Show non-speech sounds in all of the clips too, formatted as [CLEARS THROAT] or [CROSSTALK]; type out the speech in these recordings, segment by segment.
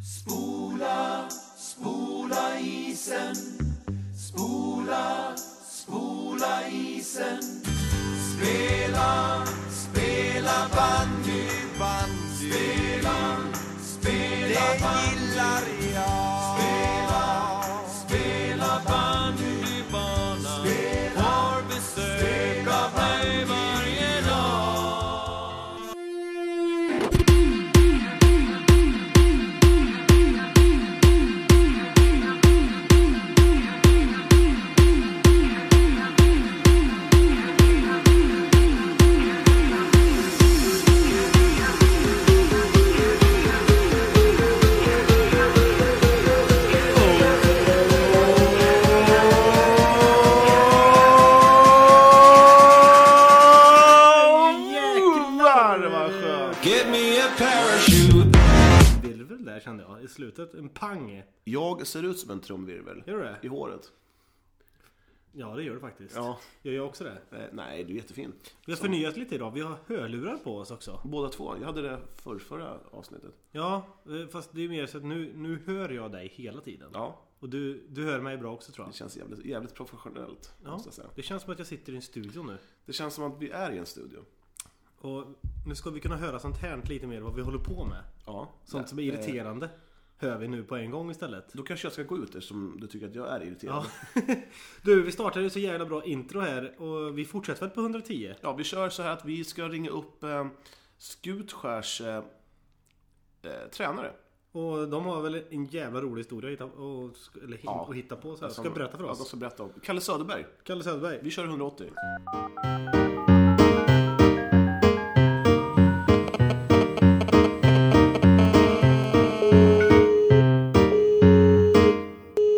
Spola, spola isen. Spola, spola isen. Spela, spela bandy. bandy. Spela, spela Det gillar jag. Spela, spela bandybanan. Har besök av mig varje dag. Jäklar vad skönt! Give me a parachute. Virvel där kände jag i slutet. En pang. Jag ser ut som en trumvirvel. Gör du det? I håret. Ja det gör det faktiskt. Ja. Gör jag också det? Eh, Nej, du är jättefin. Vi har förnyat lite idag. Vi har hörlurar på oss också. Båda två. Jag hade det förr, förra avsnittet. Ja, eh, fast det är mer så att nu, nu hör jag dig hela tiden. Ja. Och du, du hör mig bra också tror Det jag. känns jävligt, jävligt professionellt. Ja, Måste jag säga. det känns som att jag sitter i en studio nu. Det känns som att vi är i en studio. Och nu ska vi kunna höra sånt här lite mer vad vi håller på med. Ja. eh. Sånt som är irriterande. Hör vi nu på en gång istället. Då kanske jag ska gå ut eftersom du tycker att jag är irriterad. Ja. Ja, Du, vi startade ju så jävla bra intro här och vi fortsätter väl på 110? vi kör så här att vi ska ringa upp eh, Skutskärs eh, eh, tränare. Och de har väl en jävla rolig historia att hitta, och, sk- eller, ja. Ja. att hitta på så här. Ska Som- berätta för Ja, de oss. ska berätta om. Kalle Söderberg. Kalle Söderberg. Vi kör 180.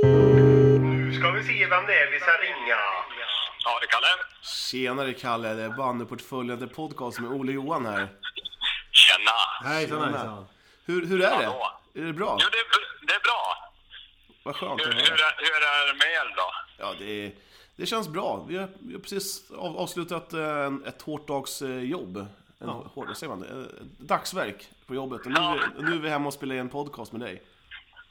Nu ska vi se vem det är vi ska ringa. Ja, det är Kalle. Tjenare Kalle, det är Bandyportföljen till podcast med Ole Johan här. Tjena! Hejsan Tjena. hejsan. Hur, hur är det? Hallå. Är det bra? Jo, det är, det är bra. Vad skönt Hur, att hur, höra. är- hur är det med er då? Ja, det, är- det känns bra. Vi har, vi har precis av, avslutat eh, en- ett hårt dags eh, jobb. En, hård, vad säger man? Eh, ett Dagsverk på jobbet. Och nu, är Ja. vi- nu är vi hemma och spelar en podcast med dig.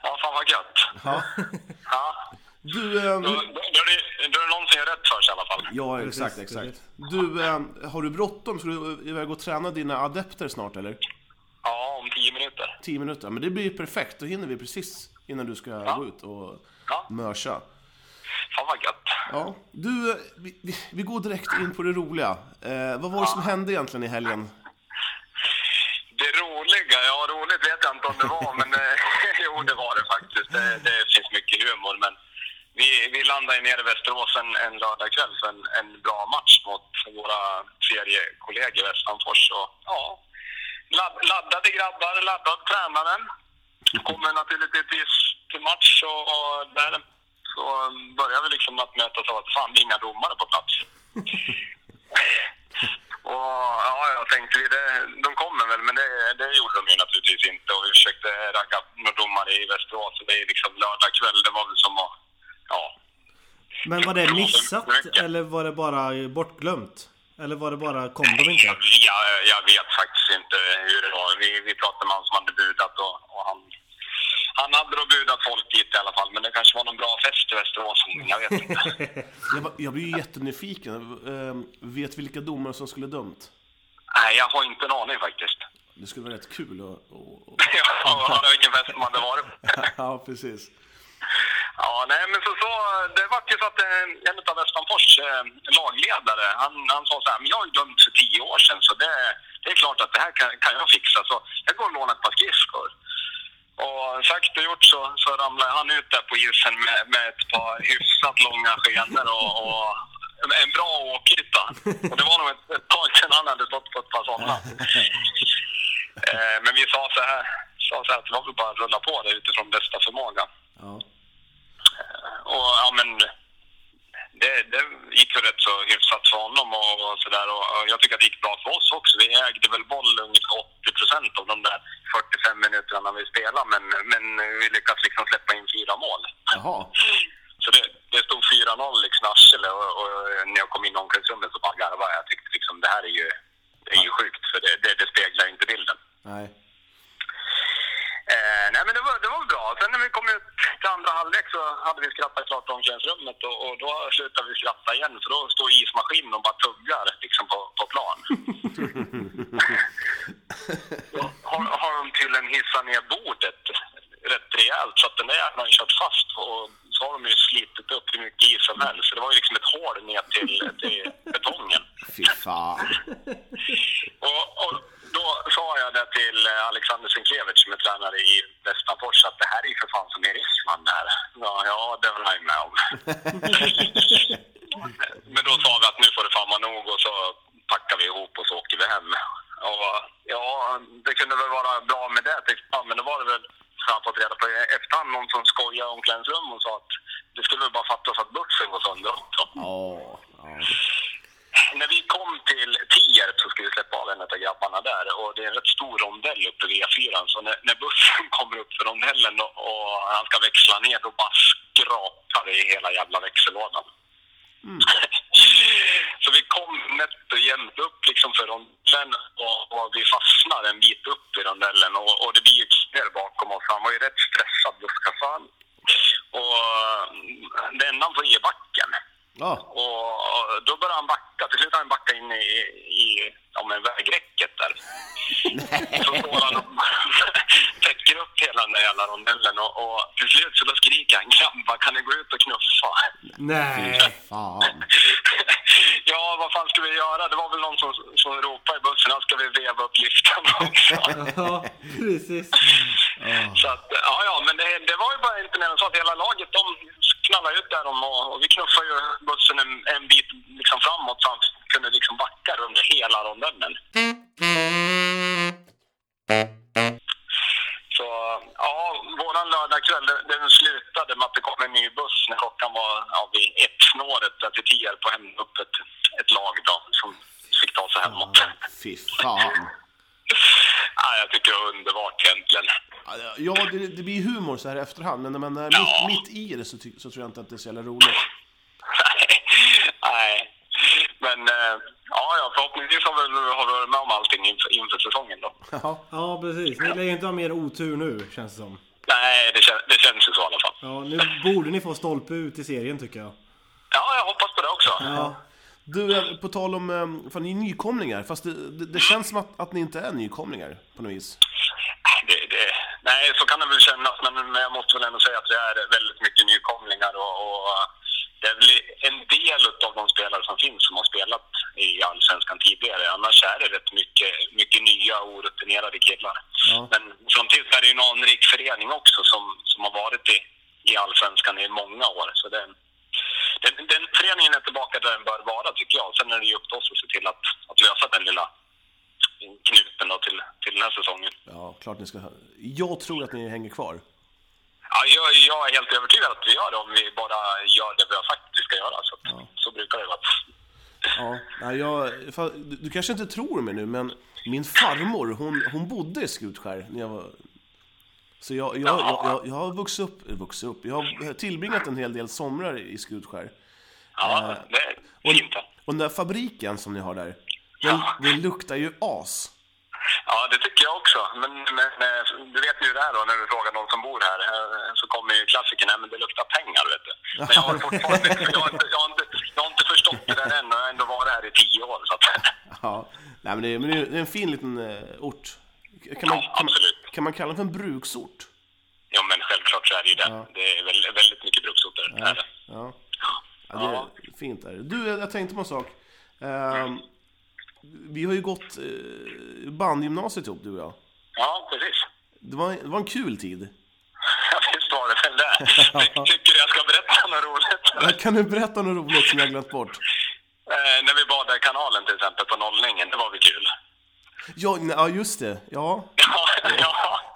Ja, fan vad gött. Ja. Ja, Du, eh, då, nu- då, då, är det, då är det någon som gör rätt för sig i alla fall. ja Precis, exakt, exakt. Du, eh, har du bråttom? Ska du eh, iväg och träna dina adepter snart eller? Ja, om tio minuter. 10 minuter. Men det blir ju perfekt. Då hinner vi precis innan du ska gå ut och Ja. mörsa. Fan vad gött. Ja, du, eh, vi, vi- vi går direkt in på det roliga. Eh, vad var det som hände egentligen i helgen? Det roliga, ja roligt vet jag inte om det var, men eh, [LAUGHS] jo det var det faktiskt. Det, det finns mycket humor, men vi, vi landade nere i Västerås en, en lördagkväll för en, en bra match mot våra seriekollegor i Västanfors. Och, ja, ladd, laddade grabbar, laddad tränare. Kommer naturligtvis till match och, och där så börjar vi liksom att mötas av att fan det är inga domare på plats. Och ja, jag tänkte vi, det, de kommer väl, men det, det gjorde de ju naturligtvis inte. Och vi försökte ragga upp några domare i Västerås och det är liksom lördag kväll. Det var väl som att, ja. Men var det missat eller var det bara bortglömt? Eller var det bara, kom de inte? Jag, jag, jag vet faktiskt inte hur det var. Vi, vi pratade med han som hade budat och, och han, han hade då budat folk dit i alla fall. Men det kanske var någon bra fest i Västerås, jag vet inte. [LAUGHS] Jag, var- jag blir ju jättenyfiken. Eh, vet vilka domare som skulle dömt? Nej, jag har inte en aning faktiskt. [LAUGHS] Det skulle vara rätt kul och, och, och... Jag hörde vilken fest de hade varit på. Ja, precis. Ja, nej, men så, så det var ju så att eh, en av Västanfors eh, lagledare, han, han sa så här, men jag har ju dömt för tio år sedan så det, det är klart att det här kan, kan jag fixa så jag går och lånar ett par skridskor. Och sagt och gjort så, så ramlade han ut där på isen med, med ett par hyfsat långa skenor och, och en- en bra åkyta. Och det var nog ett, ett tag sedan han hade stått på ett par sådana. Eh, men vi sa så här, sa så här att det var väl bara att rulla på det utifrån bästa förmåga. Ja. Och ja, men det, det gick ju rätt så hyfsat för honom och, och sådär. Och, och jag tycker att det gick bra för oss också. Vi ägde väl boll ungefär 80 procent av de där 45 minuterna vi spelade. Men, men vi lyckades liksom släppa in fyra mål. Jaha. Så det, det stod 4-0 liksom i Arsele och, och när jag kom in i omklädningsrummet så bara garvade jag. Jag tyckte liksom det här är ju, det är ju sjukt för det, det, det speglar ju inte bilden. Nej. Eh, nej men det var, det halvlek så hade vi skrattat klart om omklädningsrummet och, och då slutade vi skratta igen för då står ismaskinen och bara tuggar liksom på, på plan. Då har, har de tydligen hissat ner bordet rätt rejält så att den där jäveln har ju kört fast och så har de ju slitit upp hur mycket is som helst. Så det var ju liksom ett hål ner till, till betongen. [LAUGHS] Fy fan. Och, och då sa jag det till eh, Alexander Sienkiewicz som är tränare i Västmanfors att det här är ju för fan som i Ryssland där. Ja, ja det var jag med om. Men då sa vi att nu får det fan vara nog och så packar vi ihop och så åker vi hem. Och, ja, det kunde väl vara bra med det tyckte jag, men då var det väl så jag har fått reda på i efterhand någon som skojade om omklädningsrum och sa att det skulle väl bara fattas att bussen går sönder också. Ja. ja. När vi kom till Tierp så skulle vi släppa av en av grabbarna där och det är en rätt stor rondell uppe vid E4. Så när, när bussen [LAUGHS] kommer upp för rondellen och, och han ska växla ner då bara skrapar det i hela jävla växellådan. [LAUGHS] så vi kom nätt och jämnt upp liksom för rondellen och, och vi fastnar en bit upp i rondellen och, och det blir ju knäl bakom oss. Han var ju rätt stressad busschauffören. Och eh, det enda han får ge är backen. Ja. Och då började han backa. Till slut hade han backat in i, i ja, men vägräcket där. så står han och [LAUGHS] täcker upp hela den där jävla rondellen och, och till slut så då skriker han grabbar kan ni gå ut och knuffa? [LAUGHS] Nej. Fan. ja, vad fan ska vi göra? Det var väl någon som, som ropade i bussen att ska vi veva upp liften också? Ja, precis. så att, eh, ja, ja, men det, det var ju bara inte mer än så att hela laget de knallade ut där de, och, och vi knuffade ju bussen en, en bit liksom framåt så han kunde liksom backa runt hela rondellen. Så ja, våran lördagkväll den, den slutade med att det kom en ny buss när klockan var ja, vid ett-snåret där till Tierp på hem upp ett, ett lag då som fick ta sig hemåt. Fy fan. Ja, jag tycker det var underbart egentligen. Ja, det, det blir humor så här i efterhand, men när man är Ja. mitt, mitt i det så, ty- så tror jag inte att det är så jävla roligt. Nej. [LAUGHS] Nej. Men eh, ja, ja, förhoppningsvis har vi, har vi varit med om allting inför, inför säsongen då. Ja. Ja, precis. Ni lär ju inte ha mer otur nu, känns det som. Nej, det, kän, det känns ju så i alla fall. Ja, nu borde ni få stolpe ut i serien tycker jag. Ja, jag hoppas på det också. Ja. Du, eh, på tal om... eh, Fan, ni är nykomlingar, fast det, det, det känns som att, att ni inte är nykomlingar på något vis. Det, det, nej, så kan det väl kännas, men, men jag måste väl ändå säga att det är väldigt mycket nykomlingar och, och det är väl en del av de spelare som finns som har spelat i Allsvenskan tidigare. Annars är det rätt mycket, mycket nya orutinerade killar. Ja. Men samtidigt är det ju en anrik förening också som, som har varit i, i Allsvenskan i många år. Så den, den, den föreningen är tillbaka där den bör vara tycker jag. Sen är det ju upp till oss att se till att, att lösa den lilla knuten då till, till den här säsongen. Ja, klart ni ska... Jag tror att ni hänger kvar. Ja, jag, jag är helt övertygad att vi gör det om vi bara gör det vi har sagt att vi ska göra. Så, att- så brukar det vara. Ja, nej, jag, fa- du, du kanske inte tror mig nu, men min farmor, hon, hon bodde i Skutskär när jag var... Så jag, jag, jag, jag, jag har vuxit upp, eh, vuxit upp, jag har tillbringat en hel del somrar i Skutskär. Ja, det är Och, fint. ja. och den där fabriken som ni har där, den, Ja. den luktar ju as. Ja, det tycker jag också. Men, men eh, du vet ju det här då, när du frågar någon som bor här, eh, så kommer ju klassikern, nej men det luktar pengar vet du. Men jag har fortfarande, jag har inte, jag har inte, jag har inte förstått det där än och jag har ändå varit här i tio år. Så att, [LAUGHS] Ja, nej, men det, är- men det är det är en fin liten eh, ort. Kan man, Ja, kan, man, absolut. kan man kalla den för en bruksort? ja men självklart så är det ju det. Det är väl, väldigt mycket bruksorter. är det. Ja. Ja, det är fint där. Du, jag jag tänkte på en sak. Ehm, vi har ju gått eh, bandgymnasiet ihop, du och jag. Ja, precis. [LAUGHS] Det var, det var en kul tid. [LAUGHS] Ja, visst var det väl det. Ty- Tycker du jag ska berätta något roligt? Jag kan du berätta något roligt som jag har glömt bort? Eh, när vi badade i kanalen till exempel på nollningen, det var väl kul? [LAUGHS] Ja, nej, ja just det. Ja, Ja,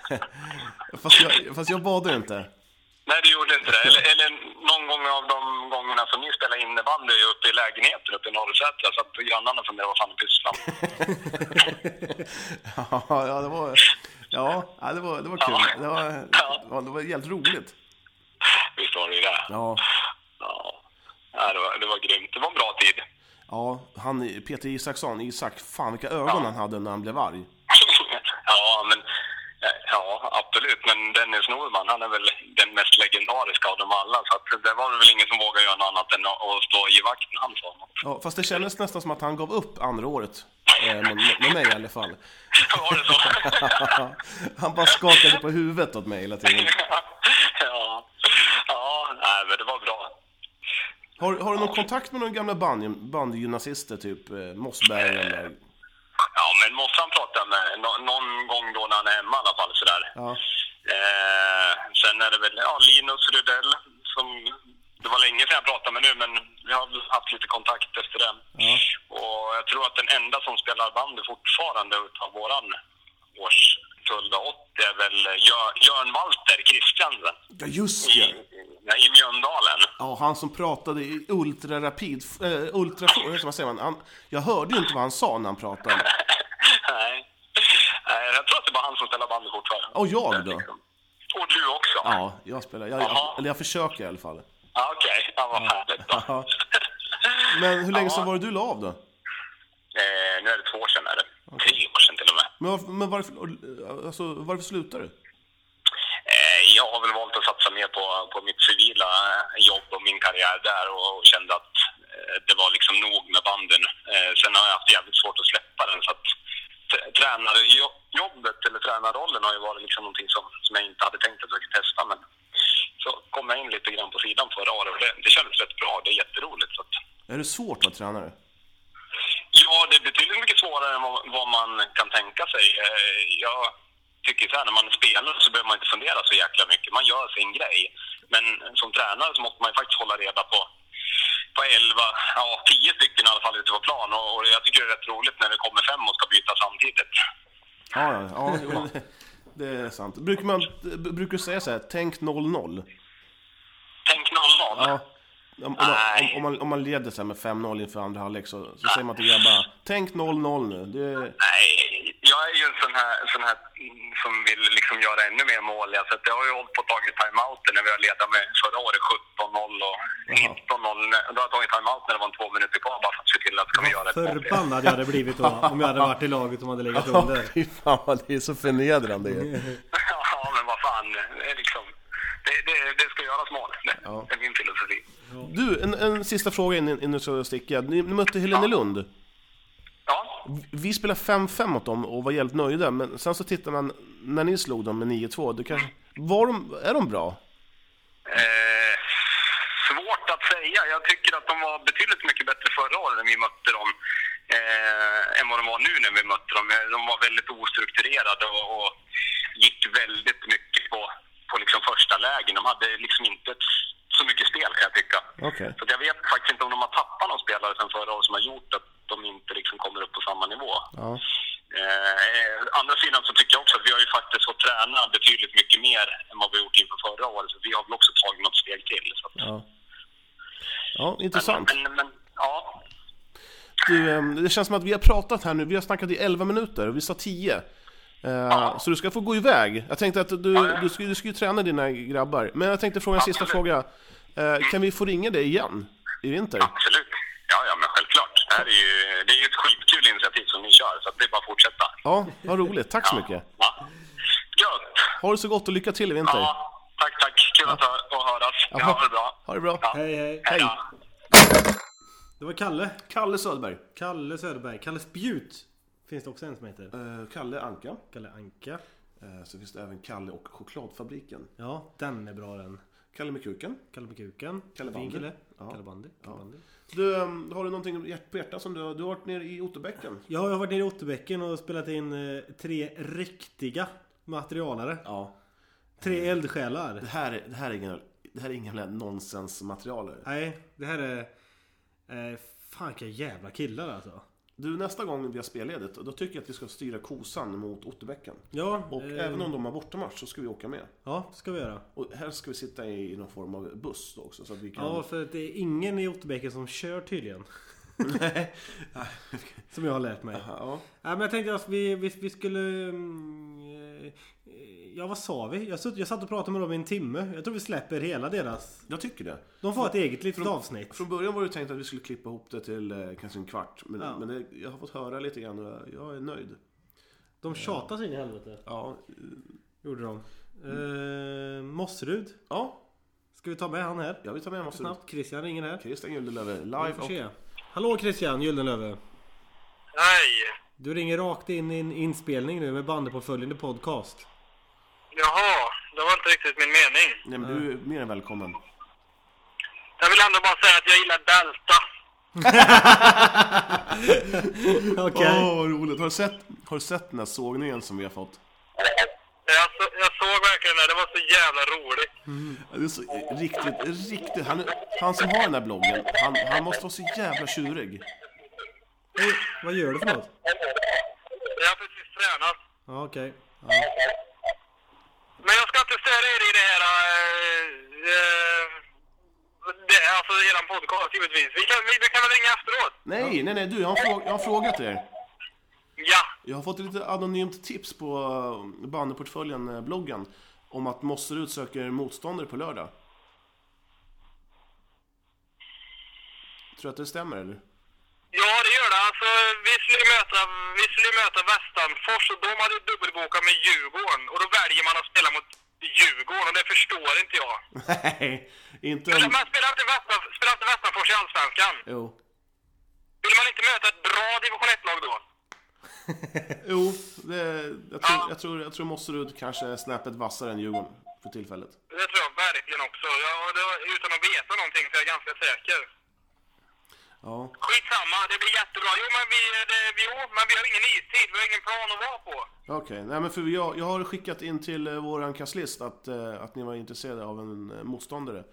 ja. fast jag, fast jag badade ju inte. [LAUGHS] Nej, det gjorde inte det. Eller, eller någon gång av de gångerna som ni spelade innebandy uppe i lägenheten uppe i Norrsätra så att grannarna funderade vad fan du pysslar med. Ja, ja, det var, ja ja, det var, det var kul. Det var, det var, det var helt roligt. Visst var det ju det? Ja, Ja. Ja, det, var, det var grymt. Det var en bra tid. [LAUGHS] ja han, Peter Isaksson, Isak, fan vilka ögon han hade när han blev arg. ja, men... eh, Ja, absolut. Men Dennis Norman, han är väl den mest legendariska av dem alla. Så att det var väl ingen som vågade göra något annat än att stå i vakt när han sa [LAUGHS] något. Ja, fast det kändes nästan som att han gav upp andra året. Eh, med, med mig i alla fall. [LAUGHS] Var det så? han bara skakade på huvudet åt mig hela tiden. ja. ja, nej men det var bra. Har, har du någon kontakt med några gamla band- bandgymnasister, typ eh, Mossberg eller? Ja, men Mossan pratar jag med nå- någon gång då när han är hemma i alla fall sådär. Ja. Eh, sen är det väl ja, Linus Rydell som det var länge sedan jag pratade med nu, men vi har väl haft lite kontakt efter det. Ja. Och jag tror att den enda som spelar bandy fortfarande utav våran årskull, då, 80, är väl Jö- Jörn Walter Christiansen ja, just i, ja. i Mjöndalen. Ja, han som pratade i ultrarapid, äh, ultra, hur ska man säga, man? Han, jag hörde ju inte vad han sa när han pratade. [LAUGHS] Nej. Nej, jag tror att det är bara han som spelar bandy fortfarande. Och jag då? Och du också? Ja, jag spelar, jag, Jaha. jag, eller jag försöker i alla fall. Ja, Okej, ja, vad härligt då. Ja. Men hur länge Ja. sedan var det du la av då? [LAUGHS] Eh, nu är det två år sedan, är det. Tre år sedan till och med. Men varför, men varför, alltså, varför slutar du? Eh, jag har väl valt att satsa mer på, på mitt civila eh, jobb och min karriär där och, och kände att eh, det var liksom nog med banden. Eh, sen har jag haft jävligt svårt att släppa den så att t- tränarjobbet eller tränarrollen har ju varit liksom någonting som, som jag inte hade tänkt att jag skulle testa men så kom jag in lite grann på sidan förra året och det, det kändes rätt bra. Det är jätteroligt. Så att, Är det svårt att vara tränare? Ja, det är betydligt mycket svårare än vad- vad man kan tänka sig. Eh, Jag tycker så här, när man spelar så behöver man inte fundera så jäkla mycket. Man gör sin grej. Men som tränare så måste man ju faktiskt hålla reda på på 11, ja 10 stycken i alla fall ute på plan och, och jag tycker det är rätt roligt när det kommer fem och ska byta samtidigt. Ja, [LAUGHS] ja, ja jo, det- det är sant. Brukar, man, b- brukar du säga så här, tänk 0-0? Tänk 0-0. Ja. Om, om, man- Nej. om, om, man, om man leder så här med 5-0 inför andra halvlek så, så säger man till grabbarna, tänk 0-0 nu. Det, Nej, jag är ju en sån här, sån här mm, som vill liksom göra ännu mer mål. Så att jag har ju hållit på och tagit timeouten när vi har ledat med förra året 17-0 och 19-0. när- Då har jag tagit timeout när det var två minuter kvar bara för att se till att ska vi göra ett mål. Förbannad jag hade blivit då om jag hade varit i laget och hade [LAUGHS] legat under. Fy fan vad det är så [LAUGHS] förnedrande. ju. [LAUGHS] Ja, men vad fan. Det, är liksom, det, det, det ska göras mål. Det, Ja. det är min filosofi. Du, en, en sista fråga innan innan du ska sticka. Ni, ni mötte Helenelund. Ja, Vi spelade 5-5 åt dem och var jävligt nöjda, men sen så tittar man när ni slog dem med 9-2. Det kanske, var de, är de bra? eh, svårt att säga. Jag tycker att de var betydligt mycket bättre förra året när vi mötte dem eh, än vad de var nu när vi mötte dem. Eh, De var väldigt ostrukturerade och, och gick väldigt mycket på, på liksom första lägen. De hade liksom inte ett- så mycket spel kan jag tycka. Okej. Så att jag vet faktiskt inte om de har tappat någon spelare sen förra året som har gjort att de inte liksom kommer upp på samma nivå. Ja. Eh, andra sidan så tycker jag också att vi har ju faktiskt fått träna betydligt mycket mer än vad vi gjort inför förra året. Så vi har väl också tagit något steg till. Så att, Ja, ja intressant. Men, men, ja. Du, ehm, det känns som att vi har pratat här nu, vi har snackat i 11 minuter och vi sa 10. Eh, Så du ska få gå iväg. Jag tänkte att du, du, ska, du ska ju träna dina grabbar. Men jag tänkte fråga en sista fråga. Eh, Kan vi få ringa dig igen i vinter? Absolut. Ja, ja, men självklart. Det, här är ju, det är ju ett skitkul initiativ som ni kör, så att det är bara att fortsätta. Ja, vad roligt. Tack så mycket. Ja. Gött! Ha det så gott och lycka till i vinter. Ja, tack, tack. Kul att, hö- att höras. Ja, ha det bra. Ha det bra. Ja. Hej hej. Hej då. Det var Kalle. Kalle Söderberg. Kalle Söderberg. Kalle Spjut. Finns det också en som heter. Eh, Kalle Anka. Kalle Anka. Eh, Så finns det även Kalle och Chokladfabriken. Ja, den är bra den. Kalle med kuken. Kalle på kuken. Kalle Fin Bandy. kille. Ja. Kalle Bandy. Kalle Bandy. Du, ehm, har du någonting hjärt- på hjärtat som du har... Du har varit nere i Otterbäcken. Ja, jag har varit nere i Otterbäcken och spelat in eh, tre riktiga materialare. Ja. Mm. Tre eldsjälar. Det här, är- det här är inga, det här är inga jävla nonsensmaterial. Nej, det här är... Eh, fan vilka jävla killar alltså. Du, nästa gång vi har spelledigt, då tycker jag att vi ska styra kosan mot Otterbäcken. Ja, Och eh, även om de har bortamatch så ska vi åka med. ja, ska vi göra. Och helst ska vi sitta i någon form av buss då också så att vi kan... Ja, för att det är ingen i Otterbäcken som kör tydligen. [LAUGHS] som jag har lärt mig. ja. Nej, men jag tänkte att vi, vi, vi skulle... mm, eh, Ja, vad sa vi? Jag, sutt, jag satt och pratade med dem i en timme. Jag tror vi släpper hela deras... Jag tycker det. De får ett eget litet avsnitt. Från början var det tänkt att vi skulle klippa ihop det till eh, kanske en kvart. Men, Ja. men det, jag har fått höra lite grann och jag, jag är nöjd. De tjatar sig in i helvete. Ja, Gjorde de. Eh, Mossrud. Mm. Ja, Ska vi ta med han här? jag vill ta med Mossrud. Snabbt, Christian ringer här. Christian Gyldenlöve Vi live får och... se. Hallå Christian Gyldenlöve. Nej, Du ringer rakt in i en inspelning nu med bandepåföljande podcast. jaha, det var inte riktigt min mening. Nej, men du är mer än välkommen. Jag vill ändå bara säga att jag gillar Delta. Okej. Åh, vad roligt. Har du, sett, har du sett den här sågningen som vi har fått? Jag, så, jag såg verkligen det, det var så jävla roligt. Det är så riktigt, riktigt. Han, han som har den här bloggen, han, han måste vara så jävla tjurig. Oj, Vad gör du för något? Jag har precis tränat. Ja, okej. Men jag ska inte störa er i det här... eh, eh, det, alltså eran podcast givetvis. Vi kan, vi, vi kan väl ringa efteråt? Nej, nej, nej, du, jag har, frå- jag har frågat er. Ja. Jag har fått lite anonymt tips på eh, Banneportföljen-bloggen om att Mosserud söker motståndare på lördag. Tror du att det stämmer, eller? [LAUGHS] Ja, det gör det. Alltså, vi skulle ju möta, vi skulle ju möta Västanfors och de hade ju dubbelbokat med Djurgården. Och då väljer man att spela mot Djurgården och det förstår inte jag. Nej, inte om... Men Alltså, Man spelar inte, Västan- spelar inte Västanfors i Allsvenskan. Jo. Vill man inte möta ett bra division 1-lag då? Jo, det, jag, tror, jag, tror, jag tror Mosserud kanske är snäppet vassare än Djurgården för tillfället. Det tror jag verkligen också. Jag, och det- utan att veta någonting så är jag ganska säker. Ja. Skitsamma, det blir jättebra. Jo, men vi, det, vi, jo, men vi har ingen istid. Vi har ingen plan att vara på. Okej, nej men för jag, jag har skickat in till eh, våran kasslist att, eh, att ni var intresserade av en eh, motståndare.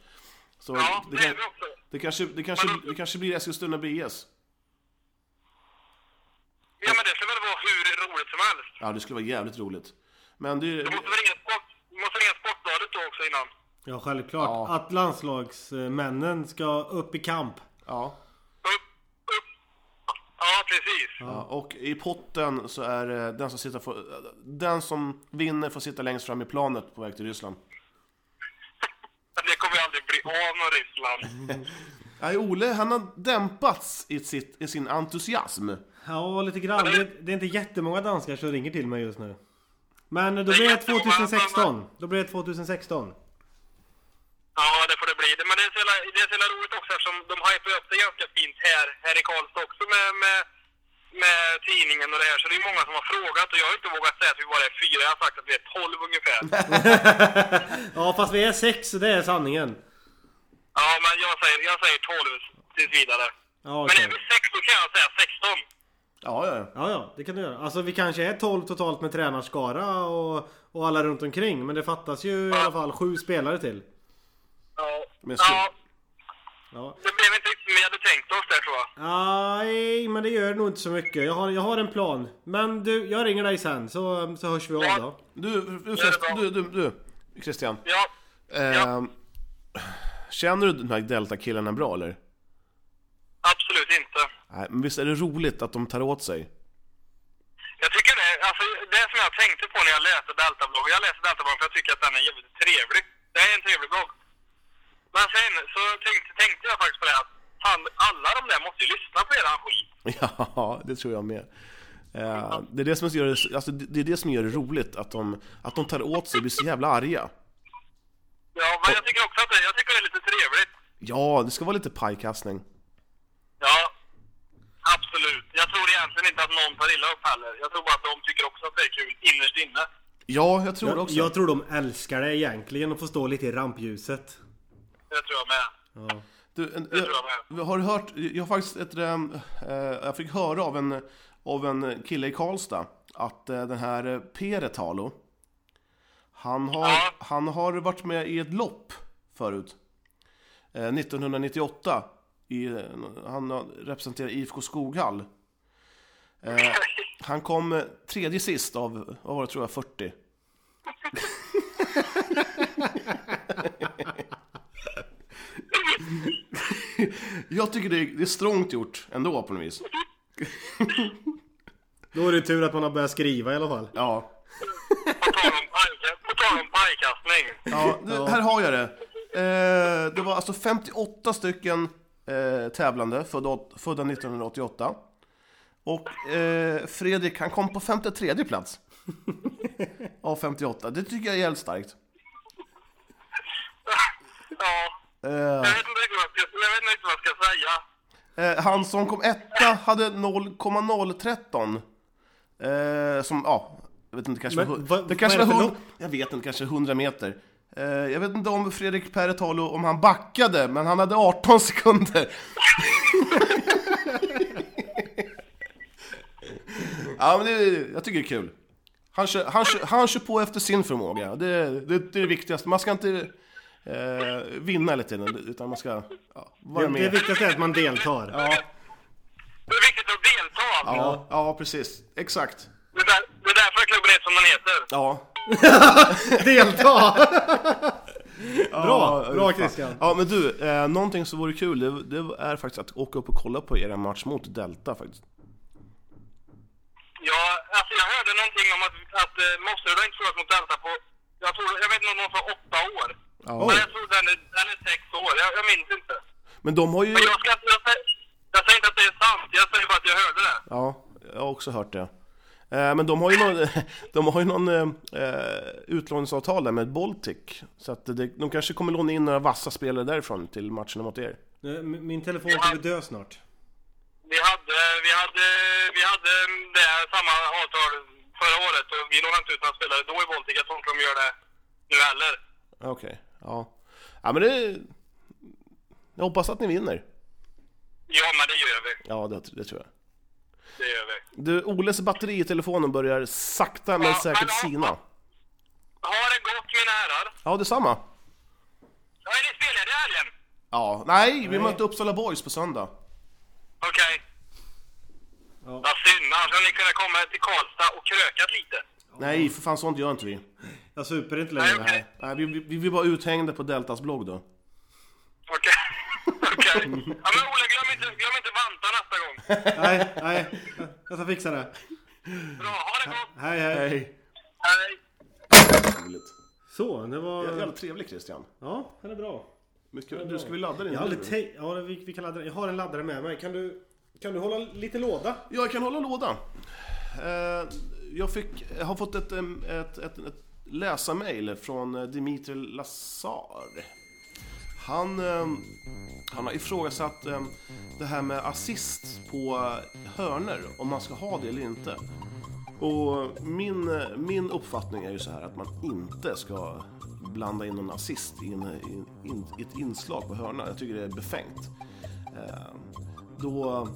Så Ja, det, det är kan, vi också. det, kanske, det, kanske, det kanske blir Eskilstuna BS. Ja, men det ska väl vara hur roligt som helst. Ja, det skulle vara jävligt roligt. Men det, Du måste väl ringa, sport, du måste ringa Sportbladet då också innan. Ja, självklart. Ja. Att landslagsmännen ska upp i kamp. ja, Upp, upp. Ja, precis. ja, och i potten så är det den som, sitter för, den som vinner får sitta längst fram i planet på väg till Ryssland. Det kommer ju aldrig bli av med Ryssland. Nej, Ole, han har dämpats i, sitt, i sin entusiasm. Ja, lite grann. Det, det är inte jättemånga danskar som ringer till mig just nu. Men då är blir det jättemånga, 2016. mamma. Då blir det 2016. Ja, det får det bli. Men det är så jävla, det är så jävla roligt också eftersom de hypar upp det ganska fint här, här i Karlstad också med, med, med tidningen och det här. Så det är många som har frågat och jag har inte vågat säga att vi bara är fyra. Jag har sagt att vi är tolv ungefär. Ja, fast vi är sex, så det är sanningen. Ja, men jag säger, jag säger tolv tills vidare. Ja, Men okej. är vi sex då kan jag säga sexton. Ja, ja, ja. Ja, ja, det kan du göra. Alltså vi kanske är 12 totalt med tränarskara och, och alla runt omkring. Men det fattas ju i alla fall sju spelare till. Ja. Men ja, så- Ja. det blev inte riktigt som vi hade tänkt oss där tror jag. Nej, men det gör nog inte så mycket. Jag har, jag har en plan. Men du, jag ringer dig sen så, så hörs vi av då. Du, du, bra. du, du, du Christian. Ja. Ehm, Känner du den här Delta-killarna bra eller? Absolut inte. Nej, men visst är det roligt att de tar åt sig? [LAUGHS] Jag tycker det, alltså det som jag tänkte på när jag läste Deltabloggen, jag läste Deltabloggen för jag tycker att den är jävligt trevlig. Det är en trevlig blogg. Men sen så tänkte, tänkte jag faktiskt på det att fan, alla de där måste ju lyssna på eran skit. Ja, det tror jag med. Eh, det, är det, som gör det, alltså det det är det som gör det roligt, att de, att de tar åt sig och blir så jävla arga. Ja, men jag tycker också att det, jag tycker det är lite trevligt. Ja, det ska vara lite pajkastning. Ja, absolut. Jag tror egentligen inte att någon tar illa upp heller. Jag tror bara att de tycker också att det är kul innerst inne. Ja, jag tror det Jag, också. jag tror de älskar det egentligen och får stå lite i rampljuset. Det tror jag med. Du, en, tror jag jag, har du hört, jag har faktiskt ett, ehm, eh, jag fick höra av en, av en kille i Karlstad att eh, den här eh, Peretalo, han har, Ja. han har varit med i ett lopp förut. Eh, 1998, i, eh, han har- representerar IFK Skoghall. Eh, han kom eh, tredje sist av, vad var det tror jag, 40. [LAUGHS] Jag tycker det är, det är strångt gjort ändå på något vis. Då är det tur att man har börjat skriva i alla fall. Ja, [LAUGHS] På tal om paj- På tal om pajkastning. [LAUGHS] Ja, nu, här har jag det. Eh, det var alltså 58 stycken eh, tävlande födda, åt- födda 1988. Och eh, Fredrik, han kom på 53 plats. [LAUGHS] A58, det tycker jag är jävligt starkt. Ja, Eh, jag vet inte riktigt vad jag ska, jag vet inte riktigt vad jag ska säga. Eh, han som kom etta hade 0,013. Eh, som, ja, jag vet inte, kanske Men var, hu- vad- det kanske var vad är det för hund, Jag vet inte, kanske 100 meter. Eh, jag vet inte om Fredrik Peretalo, om han backade, men han hade 18 sekunder. [LAUGHS] ja, men det, jag tycker det är kul. Han kör, han, kör, han kör på efter sin förmåga. Det, det, det är det viktigaste. Man ska inte eh, vinna hela tiden, utan man ska ja, vara Det, med. det viktigaste är att man deltar. [LAUGHS] Ja. Det är viktigt att delta. Ja, ja precis. Exakt. Det, är där, det är därför klubben heter som den heter. Ja. Delta! [LAUGHS] bra, ja, bra fan. Christian. Ja, men du, eh, någonting som vore kul, det, det är faktiskt att åka upp och kolla på era match mot Delta faktiskt. Ja, alltså jag hörde någonting om att, att eh, Mosterud har inte förlorat mot Delta på, jag tror, jag vet inte om någon sa åtta år. Ja. Men jag tror den är, den är sex år, jag, jag minns inte. Men de har ju... Men jag ska inte, jag, sä- jag säger inte att det är sant, jag säger bara att jag hörde det. Ja, jag har också hört det. Eh, men de har ju någon, [LAUGHS] de har ju någon eh, eh, utlåningsavtal där med Baltic. Så att det, de kanske kommer låna in några vassa spelare därifrån till matcherna mot er. Nu, m- Min telefon kommer dö snart. Vi hade, vi hade, vi hade det här samma avtal förra året och vi lånade inte ut några spelare då i Baltic, jag tror inte de gör det nu heller. Okej, ja. Ja, men det... Jag hoppas att ni vinner. Ja, men det gör vi, Ja, det, det tror jag. det gör vi. Du, Oles batteri i telefonen börjar sakta men Ja, säkert hallå? sina. Ha det gott mina herrar. Ja, detsamma. Ja, är ni spelade i helgen? Ja, nej, vi mötte Uppsala Boys på söndag. Okej. Ja. Vad synd, annars hade ni kunnat komma till Karlstad och krökat lite. Nej, för fan sånt gör inte vi. Jag super inte Nej, längre. okej. Nej, vi, vi, vi blir bara uthängda på Deltas blogg då. Okej. Okej. Ja, men Olle, glöm inte, glöm inte banta nästa gång. Nej, nej. Jag ska fixa det. Bra, ha det gott. [LAUGHS] Hej, hej. Hej. Hej. Roligt. Så, det var... Jävligt trevlig Christian. Ja, den är bra. Mycket kul. Du, ska vi ladda din Jag har aldrig nu? tänkt... Ja, vi, vi kan ladda den. Jag har en laddare med mig. Kan du... Kan du hålla lite låda? Ja, jag kan hålla låda. Eh, Jag, fick, jag har fått ett, em, ett, ett, ett läsarmail från eh, Dimitri Lazar. Han, eh, han har ifrågasatt eh, det här med assist på eh, hörner om man ska ha det eller inte. Och min, eh, min uppfattning är ju så här att man inte ska blanda in någon assist i, en, i, in, i ett inslag på hörna. Jag tycker det är befängt. Eh, Då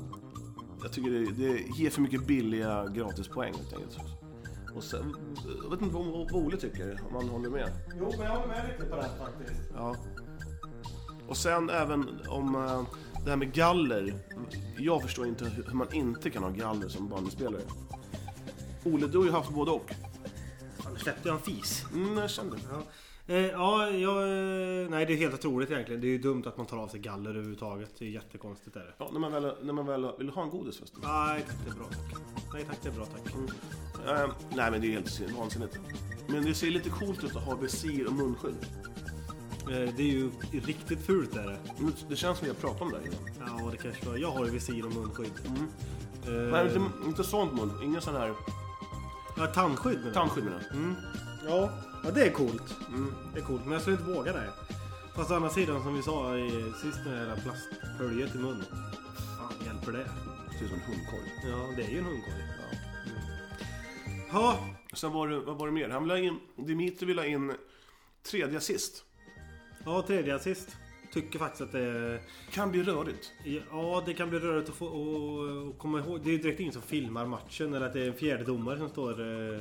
jag tycker det, det ger för mycket billiga gratispoäng helt enkelt. Och sen, jag vet inte vad vad Ole tycker, om han håller med. Jo, men jag håller med lite på det här faktiskt. Ja. Och sen även om eh, det här med galler. Jag förstår inte hur hur man inte kan ha galler som bandyspelare. Ole, du har ju haft både och. Fan, nu släppte jag en fis. Mm, jag kände det. Ja, eh, ja jag, eh, nej det är helt otroligt egentligen. Det är ju dumt att man tar av sig galler överhuvudtaget. Det är jättekonstigt är det. Ja, när man väl, när man väl vill du ha en godis förresten. Nej tack, det är bra tack. Nej tack, det är bra tack. Mm. Eh, nej, men det är helt sin- vansinnigt. Men det ser lite coolt ut att ha visir och munskydd. Eh, det är ju riktigt fult är det. Men Det känns som vi har pratat om det här innan. Ja och det kanske var. Jag har ju visir och munskydd. Eh, Nej, inte, inte sånt mun. Ingen sån här ja, tandskydd menar jag. tandskydd menar jag. Ja. ja, det är coolt. Mm, Det är coolt, men jag skulle inte våga det. Fast å andra sidan som vi sa i, sist när det där plasthöljet i munnen. Fan hjälper det? Ser ut som en hundkorg. Ja, det är ju en hundkorg. Ja. Mm. Sen var det, vad var det mer? Han vill ha in, Dimitri vill ha in tredje assist. Ja, tredje assist. Tycker faktiskt att det är... Kan bli rörigt. Ja, det kan bli rörigt att få, och, och komma ihåg. Det är ju direkt ingen som filmar matchen eller att det är en fjärde domare som står... eh,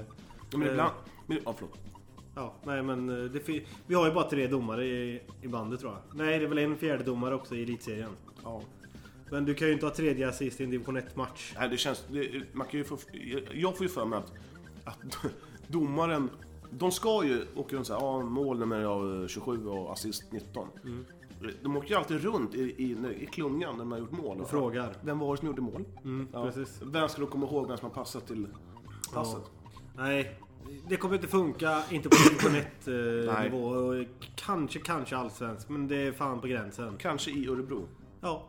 Ja, men eh, ibland... Men, ja, förlåt. Ja, nej men eh, det, fi- vi har ju bara tre domare i, i bandet tror jag. Nej, det är väl en fjärde domare också i elitserien. Ja. Men du kan ju inte ha tredje assist i en division 1-match. Nej, det känns... Det, man kan ju få, jag får ju för mig att, att [LAUGHS] domaren... De ska ju åka runt såhär, ja, mål nummer ja, 27 och assist 19. Mm. De åker ju alltid runt i, i, i klungan när de har gjort mål. Och Frågar. Vem var det som gjorde mål? Ja. Mm, precis. Vem ska då komma ihåg vem som har passat till passet? Nej, det kommer inte funka. Inte på division 1-nivå. och kanske, kanske allsvensk. Men det är fan på gränsen. Kanske i Örebro. Ja,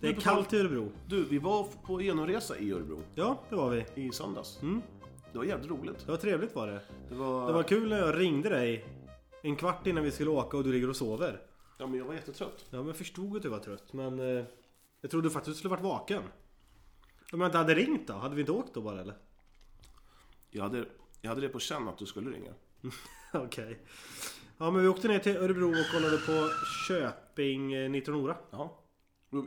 det är kallt i Örebro. Du, vi var på genomresa i Örebro Ja, det var vi. i söndags. Det Det var jävligt roligt. Det var trevligt var Mm. det. Det var... Det var kul när jag ringde dig en kvart innan vi skulle åka och du ligger och sover. Ja, men jag var jättetrött. Ja, men jag förstod att du var trött. Men eh, jag trodde faktiskt att du skulle varit vaken. Om jag inte hade ringt då? Hade vi inte åkt då bara eller? [LAUGHS] Jag hade, jag hade det på känn att du skulle ringa. Okej. Ja, men vi åkte ner till Örebro och kollade på Köping eh, 19 Nora. Ja.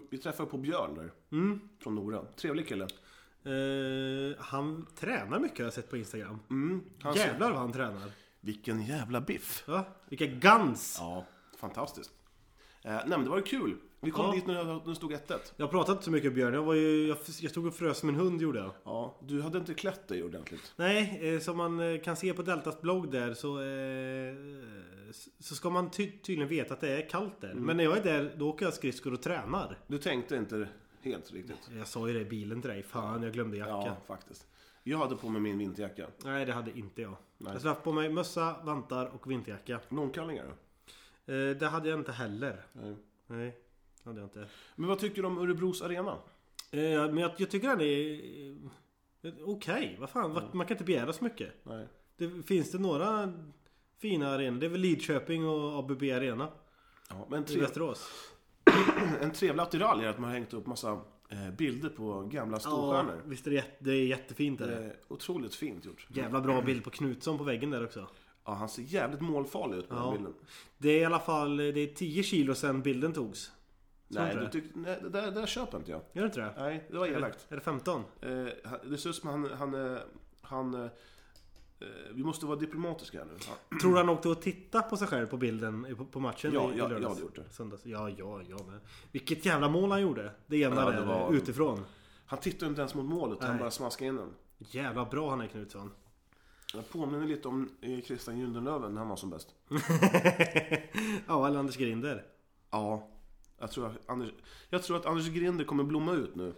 Vi träffade på Björn där. Mm. Från Nora. Trevlig kille. Eh, han tränar mycket har jag sett på Instagram. Mm. Han sa- Jävlar vad han tränar. Vilken jävla biff. Ja, vilka guns! Ja, fantastiskt. Eh, nej, men det var ju kul. Vi kom Ja. dit när när det stod 1 Jag har pratat inte så mycket Björn. Jag, var ju, jag, jag stod och frös som en hund gjorde jag. Ja, du hade inte klätt dig ordentligt. Nej, eh, som man eh, kan se på Deltas blogg där så, eh, s- så ska man ty- tydligen veta att det är kallt Mm. där. Men när jag är där, då åker jag skridskor och tränar. Du tänkte inte helt riktigt. Jag sa ju det i bilen till dig. Fan, jag glömde jackan. Ja, faktiskt. Jag hade på mig min vinterjacka. Nej, det hade inte jag. Nej. Jag skulle haft på mig mössa, vantar och vinterjacka. Långkallingar då? Eh, det hade jag inte heller. Nej. Nej, det hade jag inte. Men vad tycker du om Örebros arena? Eh, men jag, jag tycker den är... eh, Okej, vad fan. vad- Man kan inte begära så mycket. Nej. Det, finns det några fina arenor? Det är väl Lidköping och ABB Arena Ja, men i tre, Västerås? en trevlig attiralj är att man har hängt upp massa eh, bilder på gamla storstjärnor. Eh. visst är det, jätte, det är jättefint Det där. är otroligt fint gjort. Jävla bra bild på Knutsson på väggen där också. Ja, han ser jävligt målfarlig ut på den Ja. bilden. Det är i alla fall det är 10 kilo sedan bilden togs. Nej, du du tyck, nej det, där, det där köper inte jag. Gör det inte det? Nej, det var elakt. Är det 15? Eh, han- det ser ut som han... han, eh, han eh, eh, vi måste vara diplomatiska här nu. Ja. Tror du han åkte och tittade på sig själv på bilden i- på, på matchen Ja, i, i jag- jag lördags? hade gjort det. Söndags. Ja, ja, jag med. Vilket jävla mål han gjorde. Det ena Ja, det där var- utifrån. Han tittar inte ens mot målet, han Nej. bara smaskar in den. Jävla bra han är Knutsson. Jag påminner lite om eh, Christian Gyldenlöven när han var som bäst. ja, eller Anders Grinder. Ja. Jag tror, att Anders, jag tror att Anders Grinder kommer blomma ut nu.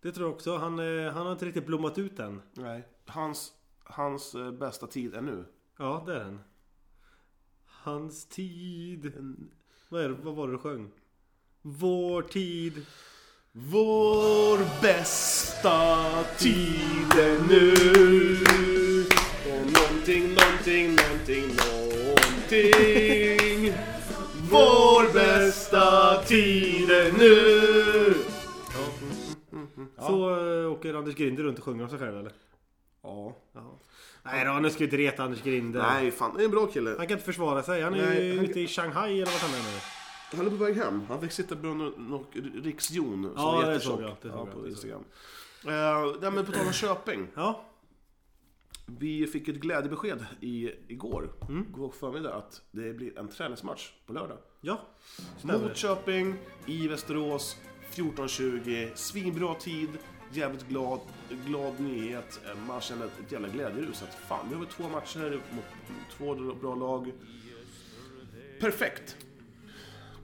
Det tror jag också. Han, eh, han har inte riktigt blommat ut än. Nej. Hans, hans eh, bästa tid är nu. Ja, det är den. Hans tid. Vad, är, det- vad var det du sjöng? Vår tid. Vår bästa tid är nu Och någonting, någonting, någonting, någonting Vår bästa tid är nu Så eh, åker Anders Grinder runt och sjunger om sig själv eller? Ja. Ja. Nej då, nu ska vi inte reta Anders Grinder. Nej, fan. Det är en bra kille. Han kan inte försvara sig. Han är Nej, ju han- ute i Shanghai eller vart han är nu. Han är på väg hem. Han fick sitta bland någon riksjon som Ja, är det jättetjock. såg jag, det såg ja, jag, på det Instagram. Eh, nej, men på tal om Köping. Ja, Vi fick ett glädjebesked i, igår, Mm. igår förmiddag, att det blir en träningsmatch på lördag. ja. Mot Köping, i Västerås, 14.20, svinbra tid, jävligt glad, glad nyhet. Eh, Man känner ett jävla glädjerus att fan, nu har vi två matcher mot två bra lag. Perfekt!